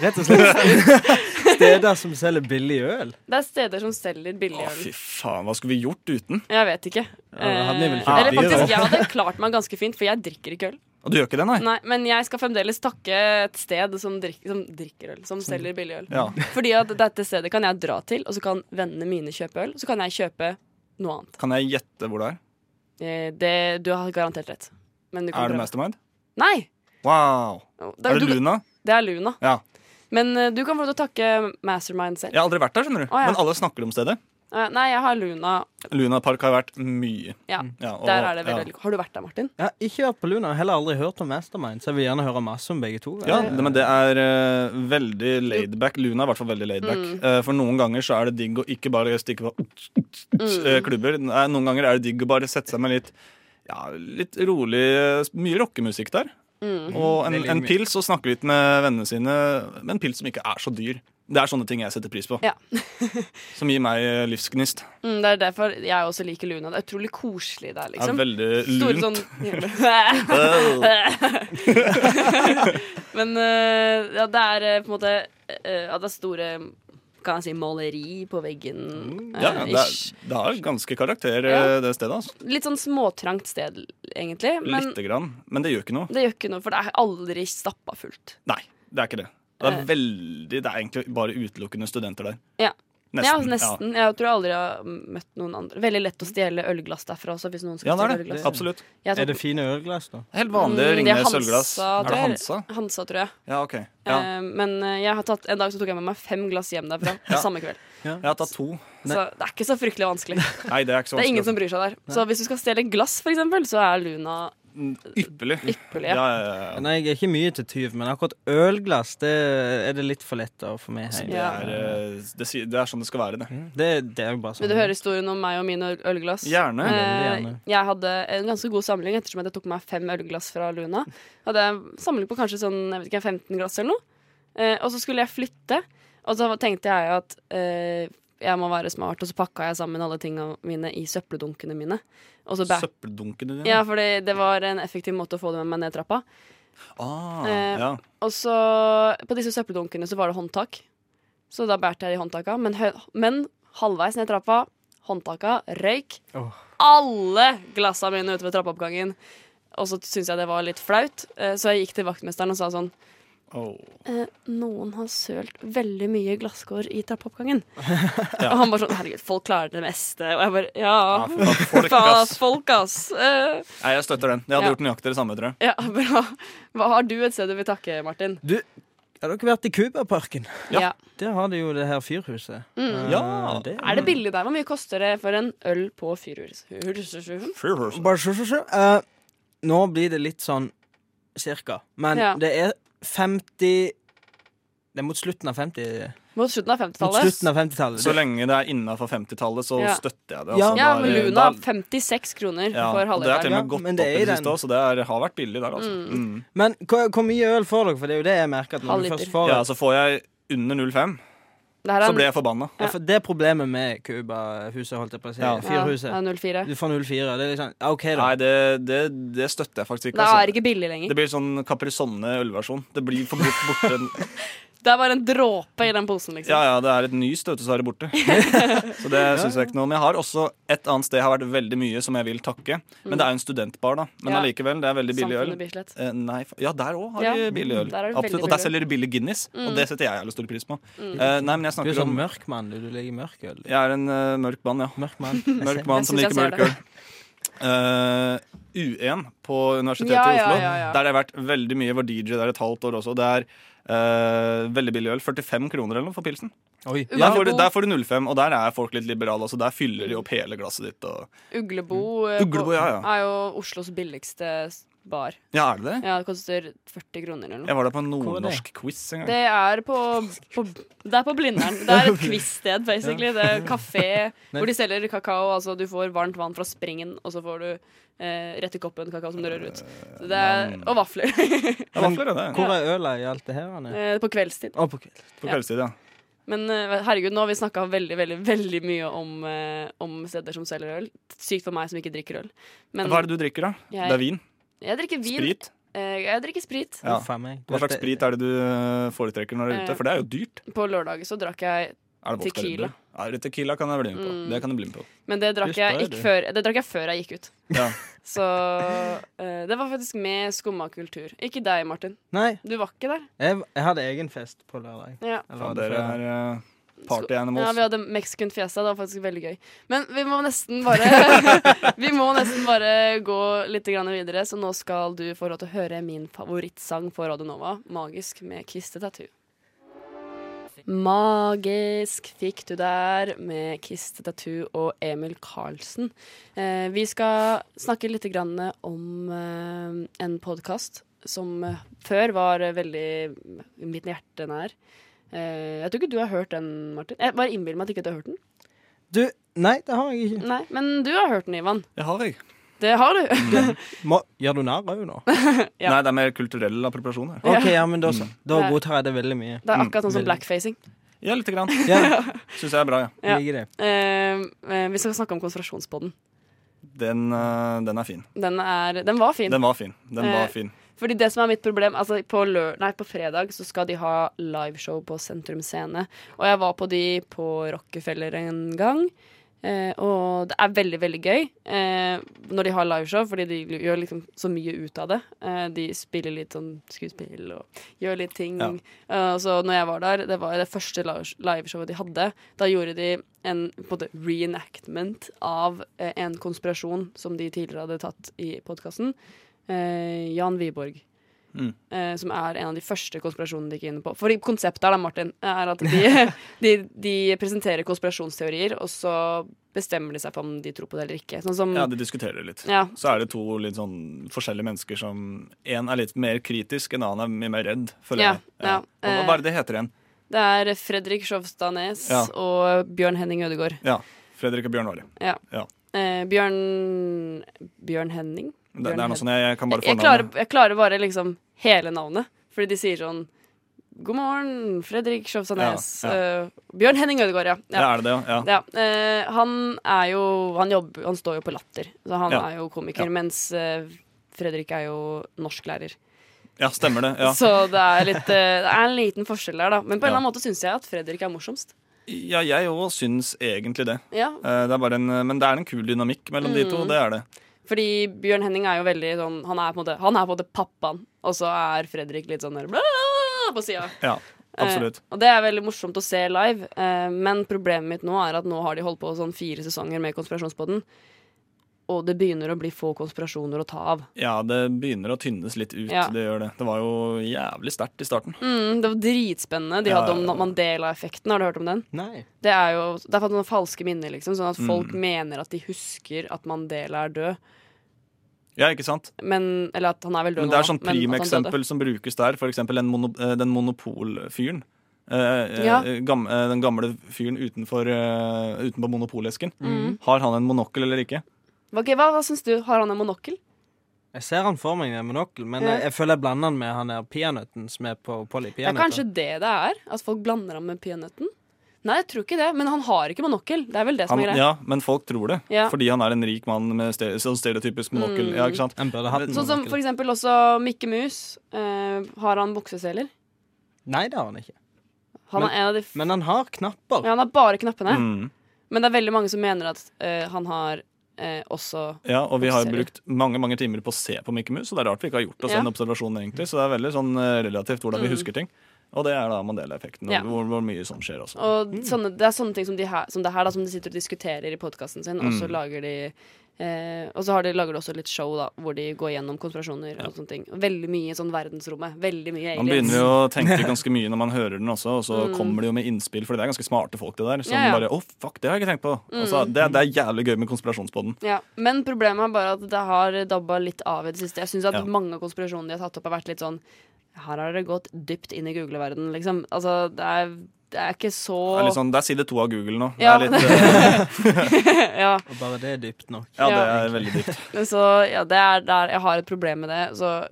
[SPEAKER 5] rett og slett. Steder som selger billig øl.
[SPEAKER 3] det er steder som selger billig
[SPEAKER 4] Å,
[SPEAKER 3] øl.
[SPEAKER 4] fy faen, hva skulle vi gjort uten?
[SPEAKER 3] Jeg vet ikke.
[SPEAKER 5] da hadde vi vel
[SPEAKER 3] Eh,
[SPEAKER 5] fått
[SPEAKER 3] Eller
[SPEAKER 5] billig, da.
[SPEAKER 3] faktisk, jeg hadde klart meg ganske fint, for jeg drikker ikke øl.
[SPEAKER 4] Og du gjør ikke det, nei?
[SPEAKER 3] Nei, Men jeg skal fremdeles takke et sted som, drik som drikker øl. Som selger billig øl.
[SPEAKER 4] Ja.
[SPEAKER 3] Fordi at dette stedet kan jeg dra til, og så kan vennene mine kjøpe øl. Så kan jeg kjøpe noe annet.
[SPEAKER 4] Kan jeg gjette hvor det er?
[SPEAKER 3] Eh, Det, du har garantert rett. Men du kan
[SPEAKER 4] Er det
[SPEAKER 3] prøve.
[SPEAKER 4] Mastermind?
[SPEAKER 3] Nei!
[SPEAKER 4] Wow.
[SPEAKER 3] Det
[SPEAKER 4] Er
[SPEAKER 3] du,
[SPEAKER 4] det Luna?
[SPEAKER 3] Det er Luna.
[SPEAKER 4] Ja.
[SPEAKER 3] Men eh, du kan få lov til å takke Mastermind selv.
[SPEAKER 4] Jeg har aldri vært der, skjønner du.
[SPEAKER 3] Å, ja.
[SPEAKER 4] Men alle snakker om stedet.
[SPEAKER 3] Eh, Nei, jeg har Luna.
[SPEAKER 4] Luna Park har vært mye.
[SPEAKER 3] Ja,
[SPEAKER 4] Mm. Ja, og-
[SPEAKER 3] der er det veldig,
[SPEAKER 4] ja.
[SPEAKER 3] veldig Har du vært der, Martin?
[SPEAKER 5] Jeg har ikke vært på Luna, heller aldri hørt om Mastermind, så jeg vil gjerne høre masse om begge to.
[SPEAKER 4] Ja, det, men det er eh, veldig laidback. Luna er i hvert fall veldig laidback. Eh, for noen ganger så er det digg å ikke bare stikke på eh, klubber. Nei, noen ganger er det digg å bare sette seg med litt ja, litt rolig eh, Mye rockemusikk der. Og en, en pils og snakke litt med vennene sine. Med en pils som ikke er så dyr. Det er sånne ting jeg setter pris på.
[SPEAKER 3] Ja.
[SPEAKER 4] som gir meg eh, livsgnist.
[SPEAKER 3] Mm, det er derfor jeg også liker Luna. Det er utrolig koselig der,
[SPEAKER 4] Det er
[SPEAKER 3] liksom.
[SPEAKER 4] veldig
[SPEAKER 3] Store
[SPEAKER 4] lunt.
[SPEAKER 3] sånn Men eh, ja, det er eh, på en måte eh, Ja, det er store kan jeg si maleri på veggen.
[SPEAKER 4] Mm. Ja,
[SPEAKER 3] eh,
[SPEAKER 4] det,
[SPEAKER 3] ish.
[SPEAKER 4] er- det har ganske karakter,
[SPEAKER 3] Ja.
[SPEAKER 4] eh, det stedet. Altså.
[SPEAKER 3] Litt sånn småtrangt sted, egentlig. Men
[SPEAKER 4] Lite grann. Men det gjør ikke noe.
[SPEAKER 3] det gjør ikke noe, for det er aldri stappa fullt.
[SPEAKER 4] Nei, det er ikke det. Det
[SPEAKER 3] Eh.
[SPEAKER 4] er veldig, det er egentlig bare utelukkende studenter der.
[SPEAKER 3] Ja.
[SPEAKER 4] Nesten.
[SPEAKER 3] Ja, nesten. Jeg tror jeg aldri har møtt noen andre. Veldig lett å stjele ølglass derfra også, hvis noen skal
[SPEAKER 4] Ja, det
[SPEAKER 3] stjele
[SPEAKER 4] er det.
[SPEAKER 3] ølglass.
[SPEAKER 4] Absolutt.
[SPEAKER 3] Jeg
[SPEAKER 5] Er
[SPEAKER 3] tok-
[SPEAKER 5] det fine ølglass, da?
[SPEAKER 4] Helt vanlig
[SPEAKER 3] Mm, det er
[SPEAKER 4] Ringnes
[SPEAKER 3] Hansa,
[SPEAKER 4] ølglass.
[SPEAKER 3] tror
[SPEAKER 4] Er det
[SPEAKER 3] jeg.
[SPEAKER 4] Hansa?
[SPEAKER 3] Hansa, tror jeg.
[SPEAKER 4] Ja, ok. Ja.
[SPEAKER 3] Eh, men eh, jeg har tatt, en dag så tok jeg med meg fem glass hjem derfra på samme kveld.
[SPEAKER 4] Jeg har tatt to.
[SPEAKER 3] Så det er ikke så fryktelig vanskelig.
[SPEAKER 4] Nei, det er ikke så
[SPEAKER 3] Det er ingen som
[SPEAKER 4] vanskelig.
[SPEAKER 3] bryr seg der. Så hvis du skal stjele glass, for eksempel, så er Luna
[SPEAKER 4] altså. Ypperlig.
[SPEAKER 3] ypperlig.
[SPEAKER 4] Ja, ja, ja, ja.
[SPEAKER 5] Nei, jeg er ikke mye til tyv, men akkurat ølglass det er det litt for lett å få med hjem.
[SPEAKER 4] Det er, eh, det, sier- det er sånn det skal være, det.
[SPEAKER 5] Det, det er jo bare sånn.
[SPEAKER 3] Vil du høre historien om meg og mine øl- ølglass?
[SPEAKER 4] Gjerne.
[SPEAKER 5] Veldig
[SPEAKER 3] Eh,
[SPEAKER 5] gjerne.
[SPEAKER 3] jeg hadde en ganske god samling ettersom at jeg tok meg fem ølglass fra Luna. Hadde jeg samling på kanskje sånn jeg vet ikke, 15 glass eller noe. Eh, og så skulle jeg flytte, og så tenkte jeg at eh, jeg må være smart, og så pakka jeg sammen alle tingene mine i søppeldunkene mine. Og så bæ-
[SPEAKER 4] Søppeldunkene dine.
[SPEAKER 3] ja, fordi det var en effektiv måte å få det med meg ned trappa.
[SPEAKER 4] Ah,
[SPEAKER 3] Eh,
[SPEAKER 4] ja.
[SPEAKER 3] Og så På disse søppeldunkene så var det håndtak. Så da bærte jeg de håndtaka. Men, hø men halvveis ned trappa, håndtaka røyk.
[SPEAKER 5] Åh.
[SPEAKER 3] Alle glassa mine ute ved trappeoppgangen. Og så syntes jeg det var litt flaut, eh, så jeg gikk til vaktmesteren og sa sånn
[SPEAKER 4] Oh.
[SPEAKER 3] eh, Noen har sølt veldig mye glasskår i trappeoppgangen. Og han bare sånn Herregud, folk klarer det meste. Og jeg bare Ja,
[SPEAKER 4] Folk, ass.
[SPEAKER 3] Ah. faen, folk, ass. Eh,
[SPEAKER 4] Nei, jeg støtter den. Jeg hadde
[SPEAKER 3] Ja.
[SPEAKER 4] gjort nøyaktig det samme, tror jeg.
[SPEAKER 3] ja, bra. Hva har du et sted du vil takke, Martin?
[SPEAKER 5] Du, har dere vært i Cubaparken?
[SPEAKER 4] Ja.
[SPEAKER 5] Der har de jo det her fyrhuset. Eh,
[SPEAKER 4] Ja.
[SPEAKER 5] det
[SPEAKER 3] Er det billig der? Hvor mye koster det for en øl på fyrhus? hus-
[SPEAKER 4] Free person.
[SPEAKER 5] Bare sjø, sjø, sjø. Eh, nå blir det litt sånn cirka. Men
[SPEAKER 3] Ja.
[SPEAKER 5] det er 50 Det er mot slutten av 50
[SPEAKER 3] Mot slutten av
[SPEAKER 5] Mot
[SPEAKER 3] 50-tallet?
[SPEAKER 5] slutten av 50-tallet.
[SPEAKER 4] Så lenge det er innafor 50-tallet, så
[SPEAKER 3] Ja.
[SPEAKER 4] støtter jeg det. altså.
[SPEAKER 3] Ja,
[SPEAKER 5] Ja.
[SPEAKER 4] Da er
[SPEAKER 3] men
[SPEAKER 4] det-
[SPEAKER 3] Luna
[SPEAKER 4] da-
[SPEAKER 3] 56 kroner
[SPEAKER 4] ja,
[SPEAKER 3] for
[SPEAKER 4] og Det er til og
[SPEAKER 3] halvdeleren.
[SPEAKER 4] med gått
[SPEAKER 5] Ja, men
[SPEAKER 4] opp
[SPEAKER 5] det er
[SPEAKER 4] i
[SPEAKER 5] i
[SPEAKER 4] det
[SPEAKER 5] den.
[SPEAKER 4] siste også, så det er, har vært billig der, altså. Mm.
[SPEAKER 5] Men hvor, hvor mye øl får dere? For det er jo det jeg merker. at når
[SPEAKER 3] Halv
[SPEAKER 5] du
[SPEAKER 3] liter.
[SPEAKER 5] først får
[SPEAKER 4] Ja, så får jeg under 0,5,
[SPEAKER 3] Det her er
[SPEAKER 4] så
[SPEAKER 3] en-
[SPEAKER 4] blir jeg forbanna.
[SPEAKER 5] Ja, for Det er problemet med Cuba-huset, holdt jeg på å si.
[SPEAKER 4] Ja.
[SPEAKER 5] Fyrhuset.
[SPEAKER 3] Ja, det er 04.
[SPEAKER 5] Du får 04. Det er liksom ja, OK, da.
[SPEAKER 4] Nei, det, det, det støtter jeg faktisk ikke.
[SPEAKER 3] Det
[SPEAKER 4] altså.
[SPEAKER 3] er ikke billig
[SPEAKER 4] Det
[SPEAKER 3] lenger.
[SPEAKER 4] blir sånn Caprisonne ølversjon. Det blir for bort, borte en-
[SPEAKER 3] Det er bare en dråpe i den posen, liksom.
[SPEAKER 4] Ja ja, det er et nys, vet du, så er det borte. Så det syns jeg ikke noe om. Jeg har også et annet sted jeg har vært veldig mye som jeg vil takke. Men det er jo en studentbar, da. Men
[SPEAKER 3] Mm. Ja.
[SPEAKER 4] allikevel, det er veldig billig
[SPEAKER 3] Samfunnet
[SPEAKER 4] øl.
[SPEAKER 3] Bislett.
[SPEAKER 4] Eh, nei, fa- ja, der òg har
[SPEAKER 3] Ja,
[SPEAKER 4] de billig øl.
[SPEAKER 3] der er det veldig
[SPEAKER 4] Absolutt, og
[SPEAKER 3] billig
[SPEAKER 4] der
[SPEAKER 3] øl. Mm.
[SPEAKER 4] selger de billig Guinness, og det setter jeg jævlig stor pris på. Eh, nei, men jeg
[SPEAKER 5] Du er
[SPEAKER 4] snakker
[SPEAKER 5] sånn
[SPEAKER 4] om
[SPEAKER 5] mørk mann, du. Du liker mørk øl.
[SPEAKER 4] Jeg er en eh, mørk mann, ja.
[SPEAKER 5] Mørk mann. Jeg
[SPEAKER 4] Mørk
[SPEAKER 5] ser-
[SPEAKER 4] mann
[SPEAKER 3] Jeg
[SPEAKER 4] som
[SPEAKER 3] synes
[SPEAKER 4] liker
[SPEAKER 3] jeg
[SPEAKER 4] mørk
[SPEAKER 3] ser
[SPEAKER 4] øl. Eh, U1 på Universitetet
[SPEAKER 3] Ja,
[SPEAKER 4] i
[SPEAKER 3] ja,
[SPEAKER 4] Oslo.
[SPEAKER 3] ja, ja.
[SPEAKER 4] Der har jeg vært veldig mye. Var DJ der et halvt år også. Det er eh, veldig billig øl. 45 kroner eller noe for pilsen.
[SPEAKER 5] Oi.
[SPEAKER 3] Ja.
[SPEAKER 4] Der får, du, der får du 05, og der er folk litt liberale. Altså, der fyller de opp hele glasset ditt. Og...
[SPEAKER 3] Uglebo, eh,
[SPEAKER 4] Mm. Uglebo,
[SPEAKER 3] på-
[SPEAKER 4] ja, ja.
[SPEAKER 3] er jo Oslos billigste s- bar.
[SPEAKER 4] Ja, er det det?
[SPEAKER 3] Ja, Det koster 40 kroner eller noe.
[SPEAKER 4] Jeg var der på en
[SPEAKER 5] Hvor er det?
[SPEAKER 4] nordnorsk quiz en gang.
[SPEAKER 3] Det er på, på Det er på Blindern. Det er et quiz-sted, basically. Det er kafé hvor de selger kakao. Altså, du får varmt vann fra springen, og så får du eh, rett i koppen kakao som du rører ut. Så det er, og vafler.
[SPEAKER 4] Det var flere, det.
[SPEAKER 5] Hvor er øla i alt det her? Anne?
[SPEAKER 3] Eh, på kveldstid.
[SPEAKER 5] Å, på kveld.
[SPEAKER 4] På kveldstid, ja.
[SPEAKER 3] Men eh, herregud, nå har vi snakka veldig veldig, veldig mye om, eh, om steder som selger øl. Sykt for meg som ikke drikker øl. Men
[SPEAKER 4] Hva er det du drikker, da?
[SPEAKER 3] Jeg-
[SPEAKER 4] Det er vin?
[SPEAKER 3] jeg drikker vin.
[SPEAKER 4] Sprit?
[SPEAKER 3] Eh, jeg drikker sprit.
[SPEAKER 4] Ja.
[SPEAKER 5] Uff a meg.
[SPEAKER 4] Hva slags sprit er det du eh, foretrekker når du er
[SPEAKER 3] Eh,
[SPEAKER 4] ute? For det er jo dyrt.
[SPEAKER 3] På lørdag så drakk jeg
[SPEAKER 4] Er det vodka Red
[SPEAKER 3] tequila. Mm.
[SPEAKER 4] Bull? Er det tequila kan jeg bli med på. Det kan jeg bli med på.
[SPEAKER 3] Men det drakk
[SPEAKER 5] Just
[SPEAKER 3] jeg,
[SPEAKER 5] det,
[SPEAKER 3] ikke
[SPEAKER 5] du.
[SPEAKER 3] før, det drakk jeg før jeg gikk ut.
[SPEAKER 4] Ja.
[SPEAKER 3] Så eh, det var faktisk med skumma kultur. Ikke deg, Martin.
[SPEAKER 5] Nei,
[SPEAKER 3] Du var ikke der.
[SPEAKER 5] jeg, jeg hadde egen fest på lørdag.
[SPEAKER 3] Ja.
[SPEAKER 4] Faen,
[SPEAKER 5] Eller var det
[SPEAKER 4] dere
[SPEAKER 5] fredag?
[SPEAKER 4] er eh, party
[SPEAKER 3] Ja,
[SPEAKER 4] animals.
[SPEAKER 3] vi hadde mexican fiesta. Det var faktisk veldig gøy. Men vi må nesten bare Vi må nesten bare gå litt grann videre, så nå skal du få lov til å høre min favorittsang på Radio Nova, 'Magisk', med Kiss the Tattoo. Magisk fikk du der med Kiss the Tattoo og Emil Karlsen. Eh, vi skal snakke litt grann om eh, en podkast som eh, før var eh, veldig mitt hjerte nær. Eh, jeg tror ikke du har hørt den, Martin. Jeg bare innbiller meg at ikke du har hørt den.
[SPEAKER 5] Du, nei, det har jeg ikke.
[SPEAKER 3] Nei, Men du har hørt den, Ivan.
[SPEAKER 4] Det har jeg.
[SPEAKER 3] Det har du.
[SPEAKER 5] Må, gjør du narr av henne nå?
[SPEAKER 3] Ja.
[SPEAKER 4] Nei, det er mer kulturell appropriasjon her.
[SPEAKER 5] OK, ja, men da, så. da
[SPEAKER 3] Nei.
[SPEAKER 5] godtar jeg det veldig mye.
[SPEAKER 3] Det er akkurat sånn som blackfacing.
[SPEAKER 4] Ja, lite grann.
[SPEAKER 5] Ja,
[SPEAKER 4] Syns jeg er bra, ja.
[SPEAKER 3] Ja.
[SPEAKER 5] liker det.
[SPEAKER 3] Eh, eh, vi skal snakke om konspirasjonspodden.
[SPEAKER 4] Den, eh, den er fin.
[SPEAKER 3] Den, er, den var fin.
[SPEAKER 4] Den var fin. Den
[SPEAKER 3] Eh,
[SPEAKER 4] var fin.
[SPEAKER 3] Fordi det som er mitt problem altså på, lø- nei, på fredag så skal de ha liveshow på Sentrum Scene. Og jeg var på de på Rockefeller en gang. Eh, og det er veldig, veldig gøy eh, når de har liveshow, fordi de gjør liksom så mye ut av det. Eh, de spiller litt sånn skuespill og gjør litt ting.
[SPEAKER 4] Ja.
[SPEAKER 3] Eh, så når jeg var der, det var det første live- liveshowet de hadde. Da gjorde de en på en måte reenactment av eh, en konspirasjon som de tidligere hadde tatt i podkasten. Eh, Jan Wiborg.
[SPEAKER 4] Mm.
[SPEAKER 3] Eh, som er en av de første konspirasjonene de gikk inn på. For konseptet her, da, Martin, er at de, de, de presenterer konspirasjonsteorier, og så bestemmer de seg for om de tror på det eller ikke. Sånn som
[SPEAKER 4] Ja, de diskuterer det litt.
[SPEAKER 3] Ja.
[SPEAKER 4] Så er det to litt sånn forskjellige mennesker som En er litt mer kritisk, en annen er mye mer redd, føler
[SPEAKER 3] Ja,
[SPEAKER 4] jeg. Ja.
[SPEAKER 3] ja. Eh.
[SPEAKER 4] Og Hva hva er det det heter igjen?
[SPEAKER 3] Det er Fredrik Sjovstad Næss
[SPEAKER 4] Ja.
[SPEAKER 3] og Bjørn Henning Ødegaard.
[SPEAKER 4] Ja. Fredrik og Bjørn Wali.
[SPEAKER 3] Ja.
[SPEAKER 4] Ja.
[SPEAKER 3] Eh, Bjørn Bjørn Henning?
[SPEAKER 4] Det, det
[SPEAKER 3] Bjørn
[SPEAKER 4] er noe sånn jeg, jeg kan bare
[SPEAKER 3] jeg, klarer,
[SPEAKER 4] fornavnet.
[SPEAKER 3] jeg klarer bare liksom hele navnet. Fordi de sier sånn God morgen, Fredrik Sjovstad Næss.
[SPEAKER 4] Ja,
[SPEAKER 3] eh, Bjørn Henning Ødegaard, ja.
[SPEAKER 4] Ja, er det det, ja.
[SPEAKER 3] Ja, eh, han er jo han, jobber, han står jo på Latter, så han
[SPEAKER 4] Ja.
[SPEAKER 3] er jo komiker.
[SPEAKER 4] Ja.
[SPEAKER 3] Mens eh, Fredrik er jo norsklærer.
[SPEAKER 4] Ja, stemmer det. Ja.
[SPEAKER 3] Så det er, litt, eh, det er en liten forskjell der, da. Men på en
[SPEAKER 4] Ja.
[SPEAKER 3] eller annen måte syns jeg at Fredrik er morsomst.
[SPEAKER 4] ja jeg òg syns egentlig det.
[SPEAKER 3] Ja,
[SPEAKER 4] Eh, Det er bare en, men det er en kul dynamikk mellom de
[SPEAKER 3] Mm.
[SPEAKER 4] to. Det er det.
[SPEAKER 3] Fordi Bjørn Henning er jo veldig sånn Han er på en måte, han er på en måte pappaen, og så er Fredrik litt sånn der bla, på sida.
[SPEAKER 4] Ja, absolutt.
[SPEAKER 3] Eh, og det er veldig morsomt å se live, eh, men problemet mitt nå er at nå har de holdt på sånn fire sesonger med Konspirasjonspodden, og det begynner å bli få konspirasjoner å ta av.
[SPEAKER 4] Ja, det begynner å tynnes litt ut.
[SPEAKER 3] Ja.
[SPEAKER 4] Det gjør det. Det var jo jævlig sterkt i starten.
[SPEAKER 3] Mm, det var dritspennende. De
[SPEAKER 4] Ja,
[SPEAKER 3] hadde
[SPEAKER 4] ja, ja.
[SPEAKER 3] om Mandela-effekten. Har du hørt om den?
[SPEAKER 5] Nei.
[SPEAKER 3] Det er jo det er faktisk noen falske minner, liksom. Sånn at folk
[SPEAKER 4] Mm.
[SPEAKER 3] mener at de husker at Mandela er død.
[SPEAKER 4] Ja, ikke sant?
[SPEAKER 3] Men, eller at han er vel død
[SPEAKER 4] Men det er
[SPEAKER 3] nå,
[SPEAKER 4] sånn
[SPEAKER 3] da, men at han døde.
[SPEAKER 4] primeksempel som brukes der. For eksempel en mono, eh, den monopolfyren. Eh, eh,
[SPEAKER 3] Ja.
[SPEAKER 4] gam, eh, den gamle fyren utenfor, eh, utenpå monopolesken.
[SPEAKER 3] Mm.
[SPEAKER 4] Har han en monokkel eller ikke?
[SPEAKER 3] Ok, hva, hva syns du? Har han en monokkel?
[SPEAKER 5] Jeg ser han for meg med monokkel, men
[SPEAKER 3] Ja.
[SPEAKER 5] jeg, jeg føler jeg blander han med han der peanøtten som er på Polly
[SPEAKER 3] Det er
[SPEAKER 5] Peanøtter.
[SPEAKER 3] kanskje det det er? At folk blander ham med peanøtten? Nei, jeg tror ikke det. Men han har ikke monokkel. Det er vel det som
[SPEAKER 4] Han,
[SPEAKER 3] er greia.
[SPEAKER 4] ja, men folk tror det.
[SPEAKER 3] Ja. Mm.
[SPEAKER 4] Fordi han er en rik mann med ste- sånn stereotypisk monokkel. Ja, ikke sant?
[SPEAKER 5] Han burde hatt en
[SPEAKER 3] Sånn som for
[SPEAKER 5] monokkel.
[SPEAKER 3] eksempel også Mikke Mus. Eh, har han bukseseler?
[SPEAKER 5] Nei, det har han ikke.
[SPEAKER 3] Han
[SPEAKER 5] Men-
[SPEAKER 3] er en av de f...
[SPEAKER 5] Men han har knapper.
[SPEAKER 3] Ja, han har bare knappene.
[SPEAKER 4] Mm.
[SPEAKER 3] Men det er veldig mange som mener at eh, han har eh, også
[SPEAKER 4] Ja, og vi har
[SPEAKER 3] Ser du?
[SPEAKER 4] brukt mange mange timer på å se på Mikke Mus, og det er rart vi ikke har gjort oss
[SPEAKER 3] Ja. Mm.
[SPEAKER 4] den observasjonen, egentlig. Så det er veldig sånn eh, relativt hvordan vi husker ting. Og det er da Mandela-effekten, og
[SPEAKER 3] Ja.
[SPEAKER 4] hvor, hvor mye sånn skjer også.
[SPEAKER 3] Og sånne, det er sånne ting som, de her, som det her da, som de sitter og diskuterer i podkasten sin,
[SPEAKER 4] Mm.
[SPEAKER 3] og så lager de Eh, og så har de, lager de også litt show da hvor de går gjennom konspirasjoner. og sånne ting Veldig mye sånn verdensrommet. Veldig mye aliens.
[SPEAKER 4] Man
[SPEAKER 3] Mm.
[SPEAKER 4] begynner jo å tenke ganske mye når man hører den også, og så kommer det jo med innspill, for det er ganske smarte folk, det der. Som
[SPEAKER 3] Ja, Mm. ja.
[SPEAKER 4] bare 'Å, fuck, det har jeg ikke tenkt på'. Altså, det, det er jævlig gøy med konspirasjonspodden.
[SPEAKER 3] Ja, Men problemet er bare at det har dabba litt av i det siste. Jeg syns at
[SPEAKER 4] Ja.
[SPEAKER 3] mange av konspirasjonene de har tatt opp, har vært litt sånn Her har dere gått dypt inn i googleverdenen, liksom. Altså, det er, det er ikke så
[SPEAKER 4] Det er, litt sånn, det er side to av Google nå.
[SPEAKER 3] Ja.
[SPEAKER 4] Det er litt, eh, sånn-
[SPEAKER 3] ja.
[SPEAKER 5] Og bare det er dypt nok.
[SPEAKER 4] ja, det
[SPEAKER 3] Ja.
[SPEAKER 4] er veldig dypt.
[SPEAKER 3] Så ja, det er der jeg har et problem med det. Så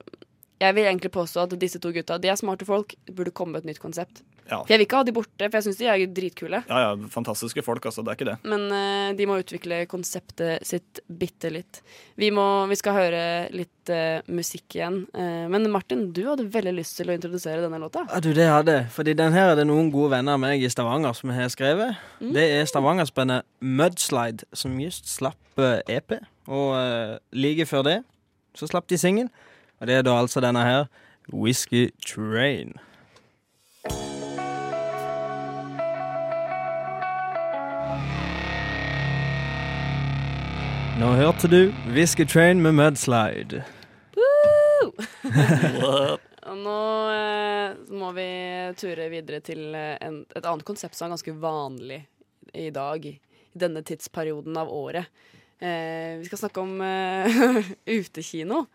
[SPEAKER 3] jeg vil egentlig påstå at disse to gutta De er smarte folk. Det burde komme et nytt konsept.
[SPEAKER 4] Ja.
[SPEAKER 3] For Jeg vil ikke ha de borte, for jeg syns de er dritkule.
[SPEAKER 4] ja, ja, fantastiske folk, altså. Det er ikke det.
[SPEAKER 3] Men eh, de må utvikle konseptet sitt bitte litt. Vi, må, vi skal høre litt eh, musikk igjen. Eh, men Martin, du hadde veldig lyst til å introdusere denne låta.
[SPEAKER 5] Ja, du, det hadde jeg. Fordi den her er det noen gode venner av meg i Stavanger som har skrevet.
[SPEAKER 4] Mm.
[SPEAKER 5] Det er stavangersbandet Mudslide, som just slapp eh, EP. Og eh, like før det så slapp de singel. Og det er da altså denne her, Whisky Train. Nå hørte du Whisky Train med Mudslide.
[SPEAKER 3] Og nå eh, må vi ture videre til eh, en, et annet konsept som er ganske vanlig i dag. I denne tidsperioden av året. Eh, vi skal snakke om eh, utekino.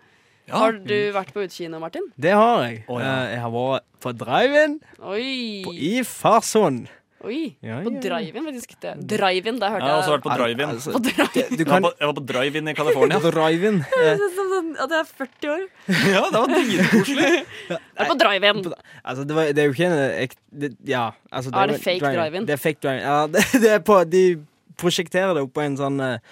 [SPEAKER 3] Har du vært på utekino, Martin?
[SPEAKER 5] Det har jeg.
[SPEAKER 4] Å, ja.
[SPEAKER 5] Eh, Jeg har vært på drive-in
[SPEAKER 3] Oi!
[SPEAKER 5] på- i Farsund.
[SPEAKER 3] Oi.
[SPEAKER 5] Ja,
[SPEAKER 3] På
[SPEAKER 5] ja, ja.
[SPEAKER 3] drive-in, faktisk. Det- Drive-in, der
[SPEAKER 4] Jeg
[SPEAKER 3] hørte
[SPEAKER 4] har også
[SPEAKER 3] jeg
[SPEAKER 4] vært på drive-in.
[SPEAKER 5] Altså,
[SPEAKER 3] På drive-in.
[SPEAKER 5] det- du
[SPEAKER 4] Jeg var
[SPEAKER 5] kan
[SPEAKER 4] på, jeg var på drive-in i California.
[SPEAKER 5] Drive-in. eh,
[SPEAKER 3] Som sånn at jeg er 40 år.
[SPEAKER 4] Ja, det var dritkoselig.
[SPEAKER 3] Jeg er på drive-in.
[SPEAKER 5] Altså, det, var, det er jo ikke en ek- det, Ja. Altså,
[SPEAKER 3] Ah, er det fake drive-in?
[SPEAKER 5] Det er fake drive-in. Ja, det, det er på, de prosjekterer det opp på en sånn eh,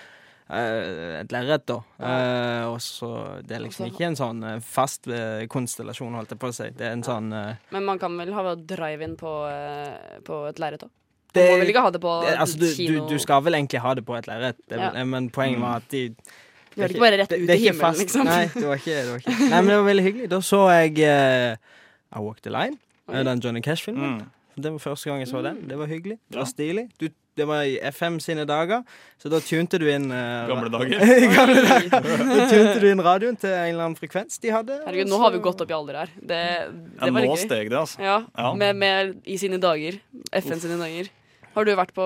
[SPEAKER 5] eh, et lerret, da. Eh, og så Det er liksom ikke en sånn eh, fast eh, konstellasjon, holdt jeg på å si. Det er en sånn eh,
[SPEAKER 3] Men man kan vel ha drive-in på, eh, på et lerret òg? Man
[SPEAKER 5] Det-
[SPEAKER 3] må vel ikke ha det på
[SPEAKER 5] det- altså, du,
[SPEAKER 3] kino?
[SPEAKER 5] du, du skal vel egentlig ha det på et lerret, det er vel-
[SPEAKER 3] Ja.
[SPEAKER 5] eh, men poenget var at de
[SPEAKER 3] Du gjør det ikke bare rett
[SPEAKER 5] det-
[SPEAKER 3] ut
[SPEAKER 5] det
[SPEAKER 3] i
[SPEAKER 5] er ikke
[SPEAKER 3] himmelen,
[SPEAKER 5] fast.
[SPEAKER 3] liksom.
[SPEAKER 5] Nei, det var ikke, det var ikke. Nei, men det var veldig hyggelig. Da så jeg eh, I Walk the Line, eh, den Johnny Cash-filmen.
[SPEAKER 4] Mm,
[SPEAKER 5] Det var første gang jeg så den. Det var hyggelig. Det var stilig. Du, det var i FM sine dager, så da tunte du inn eh,
[SPEAKER 4] Gamle dager.
[SPEAKER 5] I gamle dager. Da tunte du inn radioen til en eller annen frekvens de hadde.
[SPEAKER 3] Herregud, nå har vi gått opp i alder her. Det,
[SPEAKER 4] Ja,
[SPEAKER 3] det var
[SPEAKER 4] nå
[SPEAKER 3] litt gøy.
[SPEAKER 4] steg det, altså.
[SPEAKER 3] Ja,
[SPEAKER 4] Ja.
[SPEAKER 3] Med, med i sine dager. FN sine dager. Har du vært på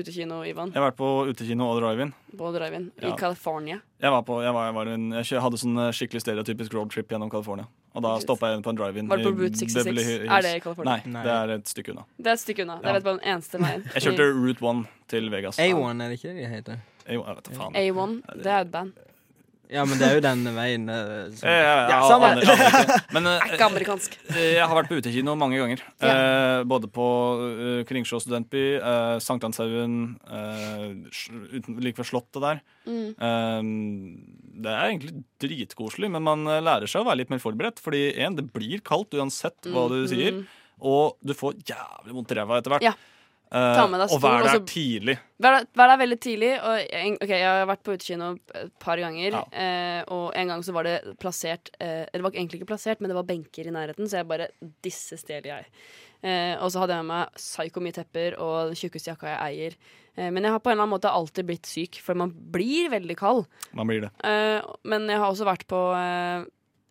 [SPEAKER 3] utekino, Ivan?
[SPEAKER 4] Jeg har vært på utekino og drive-in.
[SPEAKER 3] På drive-in? I
[SPEAKER 4] Ja.
[SPEAKER 3] California?
[SPEAKER 4] Jeg, var på, jeg, var, jeg, var en, jeg kjø- hadde sånn eh, skikkelig stereotypisk roadtrip gjennom California. Og da stoppa jeg på en drive-in.
[SPEAKER 3] Var det
[SPEAKER 4] i
[SPEAKER 3] på Route 66?
[SPEAKER 4] Beverly Hills.
[SPEAKER 3] Er det i California?
[SPEAKER 4] Nei, det er et stykke unna.
[SPEAKER 3] Det er et stykke unna. Det
[SPEAKER 4] Ja.
[SPEAKER 3] er vet bare den eneste veien.
[SPEAKER 4] Jeg kjørte Route 1 til Vegas.
[SPEAKER 5] A1, er det ikke det de heter?
[SPEAKER 4] Jeg, jeg vet da faen. Jeg,
[SPEAKER 3] A1. Det er et band.
[SPEAKER 5] Ja, men det er jo den veien eh, som-
[SPEAKER 4] jeg, jeg,
[SPEAKER 5] Ja,
[SPEAKER 4] aner- aner
[SPEAKER 5] samme.
[SPEAKER 4] ikke. Men
[SPEAKER 3] Er
[SPEAKER 4] eh,
[SPEAKER 3] ikke amerikansk.
[SPEAKER 4] jeg har vært på utekino mange ganger. Eh, både på eh, Kringsjå studentby, eh, Sankthanshaugen, eh, sj- uten- like ved Slottet der.
[SPEAKER 3] Mm.
[SPEAKER 4] Eh, det er egentlig dritkoselig, men man eh, lærer seg å være litt mer forberedt. Fordi en, det blir kaldt uansett hva du sier, og du får jævlig vondt i ræva etter hvert.
[SPEAKER 3] Mm, Ja.
[SPEAKER 4] Eh,
[SPEAKER 3] Ta med deg
[SPEAKER 4] og vær
[SPEAKER 3] stol,
[SPEAKER 4] der
[SPEAKER 3] og så-
[SPEAKER 4] tidlig.
[SPEAKER 3] Vær der- vær der veldig tidlig. Og jeg, ok, jeg har vært på utekino et par ganger.
[SPEAKER 4] Ja.
[SPEAKER 3] Eh, og en gang så var det plassert eh, Det var egentlig ikke plassert, men det var benker i nærheten, så jeg bare Disse stjeler jeg. Eh, og så hadde jeg med meg psyko mye tepper og den tjukkeste jakka jeg eier. Eh, men jeg har på en eller annen måte alltid blitt syk, for man blir veldig kald.
[SPEAKER 4] Man blir det.
[SPEAKER 3] Eh, men jeg har også vært på eh,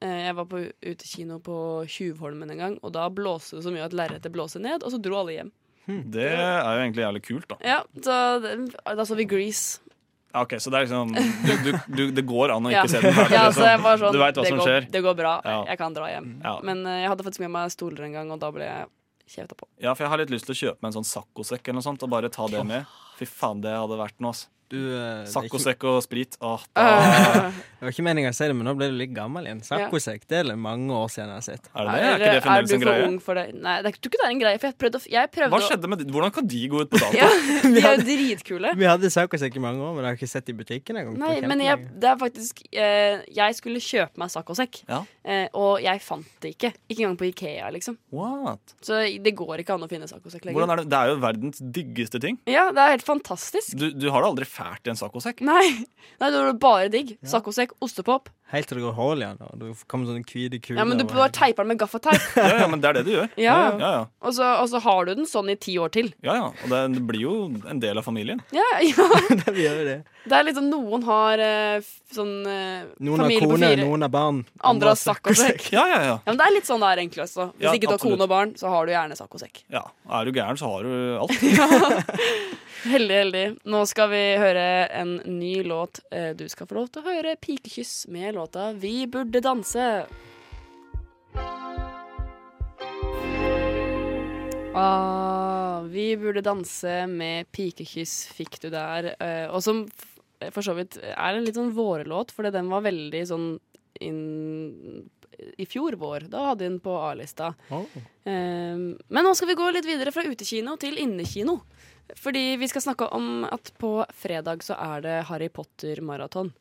[SPEAKER 3] eh, Jeg var på utekino på Tjuvholmen en gang, og da blåste det så mye at lerretet blåste ned, og så dro alle hjem.
[SPEAKER 4] Det er jo egentlig jævlig kult, da.
[SPEAKER 3] Ja, så det- Da så vi Grease.
[SPEAKER 4] Ja, Ok, Så det er liksom du, du, du, Det går an å ikke
[SPEAKER 3] Ja.
[SPEAKER 4] se den ferdig.
[SPEAKER 3] Ja,
[SPEAKER 4] liksom.
[SPEAKER 3] så jeg var sånn,
[SPEAKER 4] du veit hva
[SPEAKER 3] det
[SPEAKER 4] som
[SPEAKER 3] går,
[SPEAKER 4] skjer.
[SPEAKER 3] Det går bra,
[SPEAKER 4] Ja.
[SPEAKER 3] jeg kan dra hjem.
[SPEAKER 4] Ja.
[SPEAKER 3] Men eh, jeg hadde faktisk med meg stoler en gang, og da ble jeg kjefta på.
[SPEAKER 4] Ja, for jeg har litt lyst til å kjøpe meg en sånn saccosekk eller noe sånt og bare ta det med. Fy faen, det hadde vært noe, ass.
[SPEAKER 5] du, eh, det er ikke-
[SPEAKER 4] Saccosekk og sprit. Åh, da
[SPEAKER 3] Uh,
[SPEAKER 5] Det var ikke meningen å si det, men nå ble du litt gammel igjen. Saccosekk det er det mange år siden jeg har sett.
[SPEAKER 4] er det det? Er ikke det
[SPEAKER 3] er du
[SPEAKER 4] fremdeles en
[SPEAKER 3] for
[SPEAKER 4] greie?
[SPEAKER 3] ung for det? Nei, det er, jeg tror ikke det er en greie, for jeg prøvde, å- jeg prøvde
[SPEAKER 4] Hva
[SPEAKER 3] å-
[SPEAKER 4] skjedde med de? Hvordan kan de gå ut på dato?
[SPEAKER 3] Ja, de er jo dritkule.
[SPEAKER 5] Vi hadde saccosekk i mange år, men jeg har ikke sett det i butikken engang.
[SPEAKER 3] Nei,
[SPEAKER 5] På
[SPEAKER 3] men jeg,
[SPEAKER 5] kjempelenge.
[SPEAKER 3] det er faktisk eh, Jeg skulle kjøpe meg saccosekk,
[SPEAKER 4] Ja.
[SPEAKER 3] eh, og jeg fant det ikke. Ikke engang på Ikea, liksom.
[SPEAKER 4] What?
[SPEAKER 3] Så det går ikke an å finne saccosekk lenger.
[SPEAKER 4] Hvordan er det? det er jo verdens diggeste ting.
[SPEAKER 3] Ja, det er helt fantastisk.
[SPEAKER 4] Du, du har det aldri fælt i en saccosekk.
[SPEAKER 3] Nei, Nei det var bare digg. Saccosekk, ostepop.
[SPEAKER 5] Helt til det går hull i den, og det kommer sånne hvite kuler.
[SPEAKER 3] Ja, men du
[SPEAKER 5] over
[SPEAKER 3] bare
[SPEAKER 5] hele.
[SPEAKER 3] teiper den med gaffateip.
[SPEAKER 4] Ja, ja, men det er det du gjør.
[SPEAKER 3] Ja.
[SPEAKER 4] ja, ja.
[SPEAKER 3] Og så, og så har du den sånn i ti år til.
[SPEAKER 4] ja, ja. Og det, det blir jo en del av familien.
[SPEAKER 3] Ja, ja.
[SPEAKER 5] Vi gjør jo det.
[SPEAKER 3] Det er liksom noen har eh, f- sånn eh,
[SPEAKER 5] Noen har
[SPEAKER 3] familie på
[SPEAKER 5] kone,
[SPEAKER 3] fire,
[SPEAKER 5] noen har barn.
[SPEAKER 3] andre har saccosekk.
[SPEAKER 4] Ja, ja, ja.
[SPEAKER 3] Ja, men det er litt sånn det er egentlig også. Hvis
[SPEAKER 4] Ja,
[SPEAKER 3] ikke du har
[SPEAKER 4] absolutt.
[SPEAKER 3] kone og barn, så har du gjerne saccosekk.
[SPEAKER 4] ja. Er du gæren, så har du alt.
[SPEAKER 3] Heldig, heldig. Nå skal vi høre en ny låt. Eh, Du skal få lov til å høre 'Pikekyss' med låta 'Vi burde danse'. Ah, vi burde danse med 'Pikekyss' fikk du der. eh, Og som f- for så vidt er en litt sånn vårelåt, for den var veldig sånn inn i fjor vår. Da hadde vi den på A-lista. Eh, Men nå skal vi gå litt videre fra utekino til innekino. Fordi vi skal snakke om at på fredag så er det Harry Potter-maraton.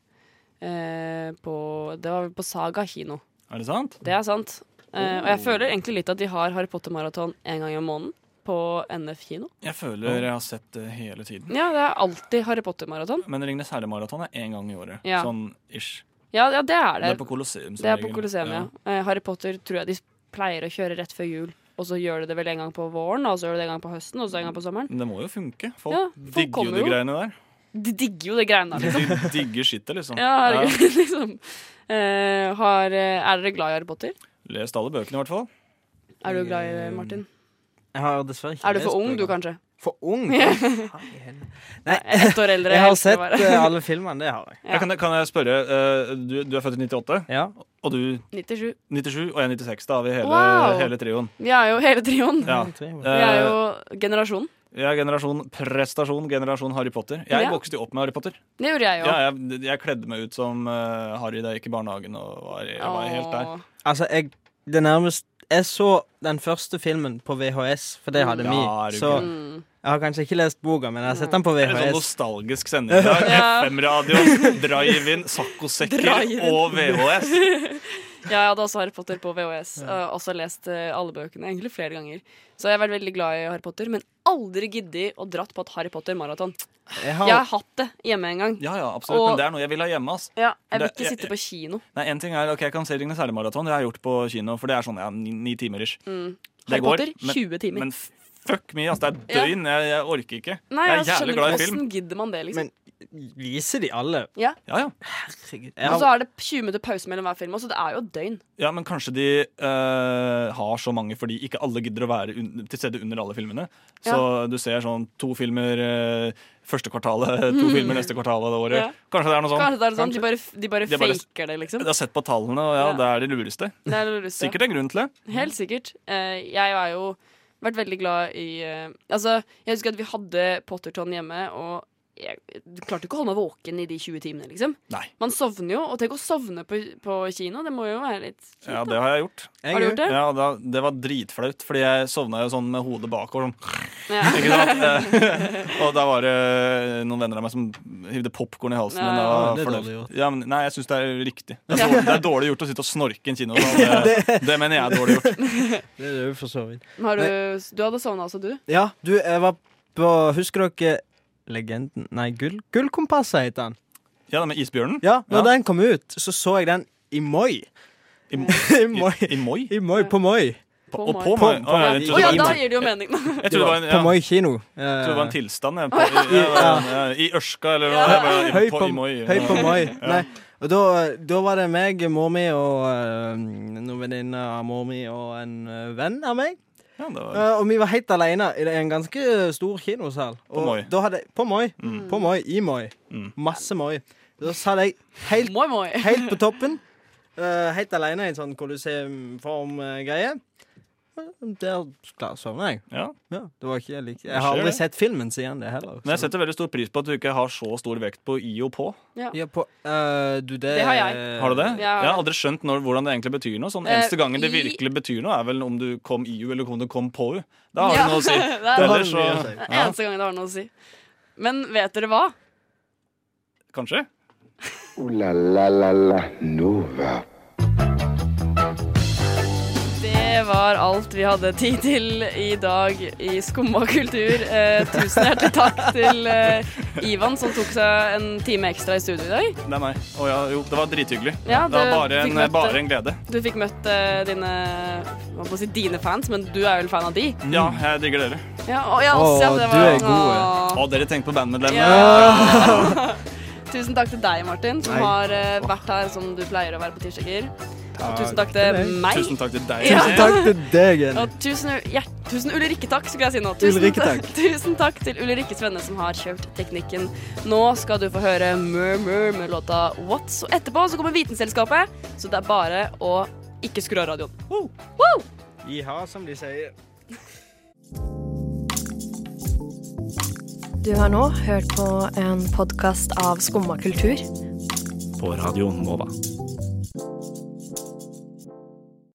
[SPEAKER 3] Eh, på- det var på Saga kino.
[SPEAKER 4] Er det sant?
[SPEAKER 3] Det er sant. Eh, og jeg føler egentlig litt at de har Harry Potter-maraton en gang i måneden på NF kino.
[SPEAKER 4] Jeg føler jeg har sett det hele tiden.
[SPEAKER 3] Ja, det er alltid Harry Potter-maraton.
[SPEAKER 4] Men Ringnes herre-maraton er én gang i året.
[SPEAKER 3] Ja.
[SPEAKER 4] Sånn ish.
[SPEAKER 3] Ja, ja, det er
[SPEAKER 4] Det er
[SPEAKER 3] det.
[SPEAKER 4] på Colosseum. som
[SPEAKER 3] Det er på
[SPEAKER 4] regel.
[SPEAKER 3] Colosseum, ja. Eh, Harry Potter tror jeg de pleier å kjøre rett før jul. Og så gjør de det vel en gang på våren, og så gjør de det en gang på høsten, og så en gang på sommeren.
[SPEAKER 4] Men det må jo funke. Folk,
[SPEAKER 3] Ja, folk
[SPEAKER 4] digger
[SPEAKER 3] kommer
[SPEAKER 4] jo de
[SPEAKER 3] jo.
[SPEAKER 4] greiene der.
[SPEAKER 3] De digger jo det greiene der.
[SPEAKER 4] De digger skittet, liksom.
[SPEAKER 3] Ja, herregud, liksom. Eh, har, er dere glad i Harry Potter?
[SPEAKER 4] Lest alle bøkene, i hvert fall.
[SPEAKER 3] Er du glad i det, Martin?
[SPEAKER 5] Eh, Jeg har dessverre ikke
[SPEAKER 3] Er du for
[SPEAKER 5] lest
[SPEAKER 3] ung, du,
[SPEAKER 5] bøkene.
[SPEAKER 3] kanskje?
[SPEAKER 5] For ung?
[SPEAKER 3] Ett år eldre.
[SPEAKER 5] Jeg har
[SPEAKER 3] helst det
[SPEAKER 5] sett
[SPEAKER 3] bare.
[SPEAKER 5] eh, alle filmene, det har jeg.
[SPEAKER 3] Ja.
[SPEAKER 4] Jeg kan, kan jeg spørre eh, du, du er født i 98,
[SPEAKER 5] Ja.
[SPEAKER 4] og du
[SPEAKER 3] 97.
[SPEAKER 4] 97, og jeg 96. Da har vi hele,
[SPEAKER 3] Wow.
[SPEAKER 4] hele trioen.
[SPEAKER 3] Vi er jo hele trioen.
[SPEAKER 4] Ja.
[SPEAKER 5] Jeg
[SPEAKER 3] Vi er
[SPEAKER 4] Eh,
[SPEAKER 3] jo generasjonen.
[SPEAKER 4] jeg er generasjon prestasjon, generasjon Harry Potter. Jeg
[SPEAKER 3] Ja.
[SPEAKER 4] vokste jo opp med Harry Potter.
[SPEAKER 3] Det gjorde jeg jo.
[SPEAKER 4] Ja, jeg, jeg kledde meg ut som eh, Harry da jeg gikk i barnehagen og var, jeg var helt der.
[SPEAKER 3] Åh.
[SPEAKER 5] Altså, jeg Det nærmest Jeg så den første filmen på VHS, for det hadde
[SPEAKER 4] Ja,
[SPEAKER 5] vi.
[SPEAKER 4] er du
[SPEAKER 5] så
[SPEAKER 4] gæren.
[SPEAKER 3] Mm.
[SPEAKER 5] jeg Jeg har kanskje ikke lest boka, men jeg har sett den på
[SPEAKER 4] Det er en sånn
[SPEAKER 5] VHS.
[SPEAKER 4] nostalgisk sending. i dag.
[SPEAKER 3] Ja.
[SPEAKER 4] FM-radio, drive-in, saccosekker
[SPEAKER 3] Drive-in.
[SPEAKER 4] og VHS.
[SPEAKER 3] Ja, jeg hadde også Harry Potter på VHS. Og også lest eh, alle bøkene egentlig flere ganger. Så jeg har vært veldig glad i Harry Potter, men aldri giddet å dratt på et Harry Potter-maraton.
[SPEAKER 5] Jeg
[SPEAKER 3] Jeg har
[SPEAKER 5] har,
[SPEAKER 3] hatt det hjemme en gang.
[SPEAKER 4] Ja, ja, absolutt.
[SPEAKER 3] Og-
[SPEAKER 4] Men det er noe jeg vil ha hjemme. ass.
[SPEAKER 3] Ja, jeg vil
[SPEAKER 4] Det-
[SPEAKER 3] ikke
[SPEAKER 4] jeg-
[SPEAKER 3] sitte på kino.
[SPEAKER 4] Nei, en ting er, ok, Jeg kan se Ringenes herre-maraton. Det har jeg gjort på kino. For det er sånn ja, ni, ni timer ish.
[SPEAKER 3] Mm. Harry
[SPEAKER 4] Det går,
[SPEAKER 3] Potter,
[SPEAKER 4] men-
[SPEAKER 3] 20 timer.
[SPEAKER 4] Men f- fuck me, ass. Det er et døgn. Jeg, jeg orker ikke.
[SPEAKER 3] Nei,
[SPEAKER 4] jeg
[SPEAKER 3] jeg
[SPEAKER 4] er jævlig
[SPEAKER 3] skjønner
[SPEAKER 4] glad
[SPEAKER 3] ikke
[SPEAKER 4] i film.
[SPEAKER 3] hvordan gidder man det, liksom.
[SPEAKER 5] Men- viser de alle?
[SPEAKER 3] Ja.
[SPEAKER 4] Ja, ja.
[SPEAKER 5] Herregud. Jeg
[SPEAKER 3] Og så
[SPEAKER 5] har,
[SPEAKER 3] er det 20 minutter pause mellom hver film. Så det er jo et døgn.
[SPEAKER 4] ja, Men kanskje de eh, har så mange fordi ikke alle gidder å være un til stede under alle filmene. Så du ser sånn to filmer eh, første kvartalet, to filmer neste kvartal av det året.
[SPEAKER 3] Ja.
[SPEAKER 4] Kanskje det er noe sånt.
[SPEAKER 3] Kanskje det er sånn, de bare, de bare
[SPEAKER 4] De bare-
[SPEAKER 3] faker det, liksom.
[SPEAKER 4] Jeg har sett på tallene, og ja,
[SPEAKER 3] Ja.
[SPEAKER 4] det er de lureste.
[SPEAKER 3] Det er Russa.
[SPEAKER 4] Sikkert en grunn til det.
[SPEAKER 3] Helt sikkert. Eh, jeg har jo vært veldig glad i eh, Altså, jeg husker at vi hadde Potterton hjemme, og jeg klarte ikke å holde meg våken i de 20 timene, liksom.
[SPEAKER 4] Nei.
[SPEAKER 3] Man sovner jo, og tenk å sovne på, på kino. Det må jo være litt kjipt.
[SPEAKER 4] Ja, det har jeg gjort.
[SPEAKER 5] jeg
[SPEAKER 3] har du
[SPEAKER 5] jo.
[SPEAKER 3] gjort det?
[SPEAKER 4] Ja, da, Det var dritflaut, fordi jeg sovna jo sånn med hodet bakover. Sånn.
[SPEAKER 3] Ja.
[SPEAKER 4] Ikke sant? Eh, og da var det eh, noen venner av meg som hivde popkorn i halsen.
[SPEAKER 3] Ja,
[SPEAKER 4] min,
[SPEAKER 3] ja.
[SPEAKER 4] og
[SPEAKER 5] Det er
[SPEAKER 4] fornøyd.
[SPEAKER 5] dårlig gjort.
[SPEAKER 4] Ja, men, nei, jeg syns det er riktig. Det er, dårlig, det er dårlig gjort å sitte og snorke i en kinosal. Det, det mener jeg er dårlig gjort.
[SPEAKER 5] Det er det jo for så vidt.
[SPEAKER 3] Men Har du, du hadde sovna også, du?
[SPEAKER 5] Ja, du, jeg var på Husker dere Legenden Nei, Gull, Gullkompasset heter den.
[SPEAKER 4] Ja, det med isbjørnen.
[SPEAKER 5] Ja, når
[SPEAKER 4] Ja.
[SPEAKER 5] den kom ut, så så jeg den i Moi.
[SPEAKER 4] I,
[SPEAKER 5] I
[SPEAKER 4] i,
[SPEAKER 5] Moi.
[SPEAKER 4] i Moi?
[SPEAKER 5] I Moi, på Moi.
[SPEAKER 3] På
[SPEAKER 4] Og
[SPEAKER 3] Moi.
[SPEAKER 4] på Moi. Å, ja, jeg
[SPEAKER 3] Å
[SPEAKER 4] trodde
[SPEAKER 3] ja,
[SPEAKER 4] det
[SPEAKER 3] da
[SPEAKER 4] var en-
[SPEAKER 3] gir det jo mening.
[SPEAKER 4] jeg trodde det var en-
[SPEAKER 5] På
[SPEAKER 4] ja,
[SPEAKER 5] Moi kino.
[SPEAKER 4] jeg trodde det var en tilstand. Jeg, på, i,
[SPEAKER 5] Ja.
[SPEAKER 4] ja, I Ørska, eller hva det var.
[SPEAKER 5] Høy
[SPEAKER 4] i-
[SPEAKER 5] på,
[SPEAKER 4] på- i Moi.
[SPEAKER 5] høy på Moi. Nei. Og da, da var det meg, mor mi og eh, noen venninner av mor mi og en eh, venn av meg.
[SPEAKER 4] Ja, det var,
[SPEAKER 5] Eh, og vi var helt alene i en ganske stor kinosal. Og
[SPEAKER 4] Moi.
[SPEAKER 5] Da hadde, på Moi. På Moi. I Moi.
[SPEAKER 4] Mm.
[SPEAKER 5] Masse Moi. Da satt jeg helt,
[SPEAKER 3] Moi, moi.
[SPEAKER 5] helt på toppen. eh, helt alene i en sånn kolosseumform-greie. Der klar, sovna jeg.
[SPEAKER 4] ja.
[SPEAKER 5] Ja, det var ikke like. Jeg har
[SPEAKER 4] skjer
[SPEAKER 5] aldri
[SPEAKER 4] det.
[SPEAKER 5] sett filmen siden det heller.
[SPEAKER 4] Men jeg setter veldig stor pris på at du ikke har så stor vekt på i og på.
[SPEAKER 5] ja, på, eh, du, det,
[SPEAKER 3] Det har jeg.
[SPEAKER 4] Har du det?
[SPEAKER 3] Ja.
[SPEAKER 4] Jeg har aldri skjønt når, hvordan det egentlig betyr noe. Sånn,
[SPEAKER 3] Eh,
[SPEAKER 4] eneste gangen det
[SPEAKER 3] i-
[SPEAKER 4] virkelig betyr noe, er vel om du kom i u eller om du kom på u. Da har
[SPEAKER 3] Ja.
[SPEAKER 4] det noe å si.
[SPEAKER 3] Det er-
[SPEAKER 5] Det har
[SPEAKER 4] Ellers
[SPEAKER 5] mye å
[SPEAKER 4] så-
[SPEAKER 5] si.
[SPEAKER 3] Det er eneste gangen det har noe å si. Men vet dere hva?
[SPEAKER 4] Kanskje?
[SPEAKER 2] Ooh la la la la Nova.
[SPEAKER 3] Det var alt vi hadde tid til i dag i Skumma kultur. Eh, tusen hjertelig takk til eh, Ivan som tok seg en time ekstra i studio i dag.
[SPEAKER 4] Det er meg. Å ja, jo, det var drithyggelig.
[SPEAKER 3] Ja,
[SPEAKER 4] det var
[SPEAKER 3] du
[SPEAKER 4] bare
[SPEAKER 3] fikk
[SPEAKER 4] en, eh,
[SPEAKER 3] møte-
[SPEAKER 4] bare en glede.
[SPEAKER 3] Du fikk møtt eh, dine hva må jeg si, dine fans, men du er vel fan av de?
[SPEAKER 4] Ja, jeg digger dere.
[SPEAKER 3] Ja, og ja,
[SPEAKER 5] Å,
[SPEAKER 3] oss, ja, det
[SPEAKER 5] du er god, eh.
[SPEAKER 3] Åh.
[SPEAKER 4] Å, dere tenker på bandmedlemmene.
[SPEAKER 3] Ja. Tusen takk til deg, Martin, som har eh, vært her som du pleier å være på tirsdager. Og tusen takk til
[SPEAKER 5] til deg.
[SPEAKER 3] meg.
[SPEAKER 4] Tusen takk til deg.
[SPEAKER 3] Ja.
[SPEAKER 4] Jenny.
[SPEAKER 5] Takk til deg, Jenny.
[SPEAKER 3] Og tusen, hjert, tusen Ulrikke takk, skulle jeg si nå. Tusen,
[SPEAKER 5] Ulrikke takk.
[SPEAKER 3] tusen takk til Ulrikke Svenne som har kjørt teknikken. Nå skal du få høre Murmur med låta What's. Og etterpå så kommer Vitenselskapet, så det er bare å ikke skru av radioen. Woo!
[SPEAKER 5] Jiha, som de sier.
[SPEAKER 10] Du har nå hørt på en podkast av Skumma kultur.
[SPEAKER 11] På Radio Nova.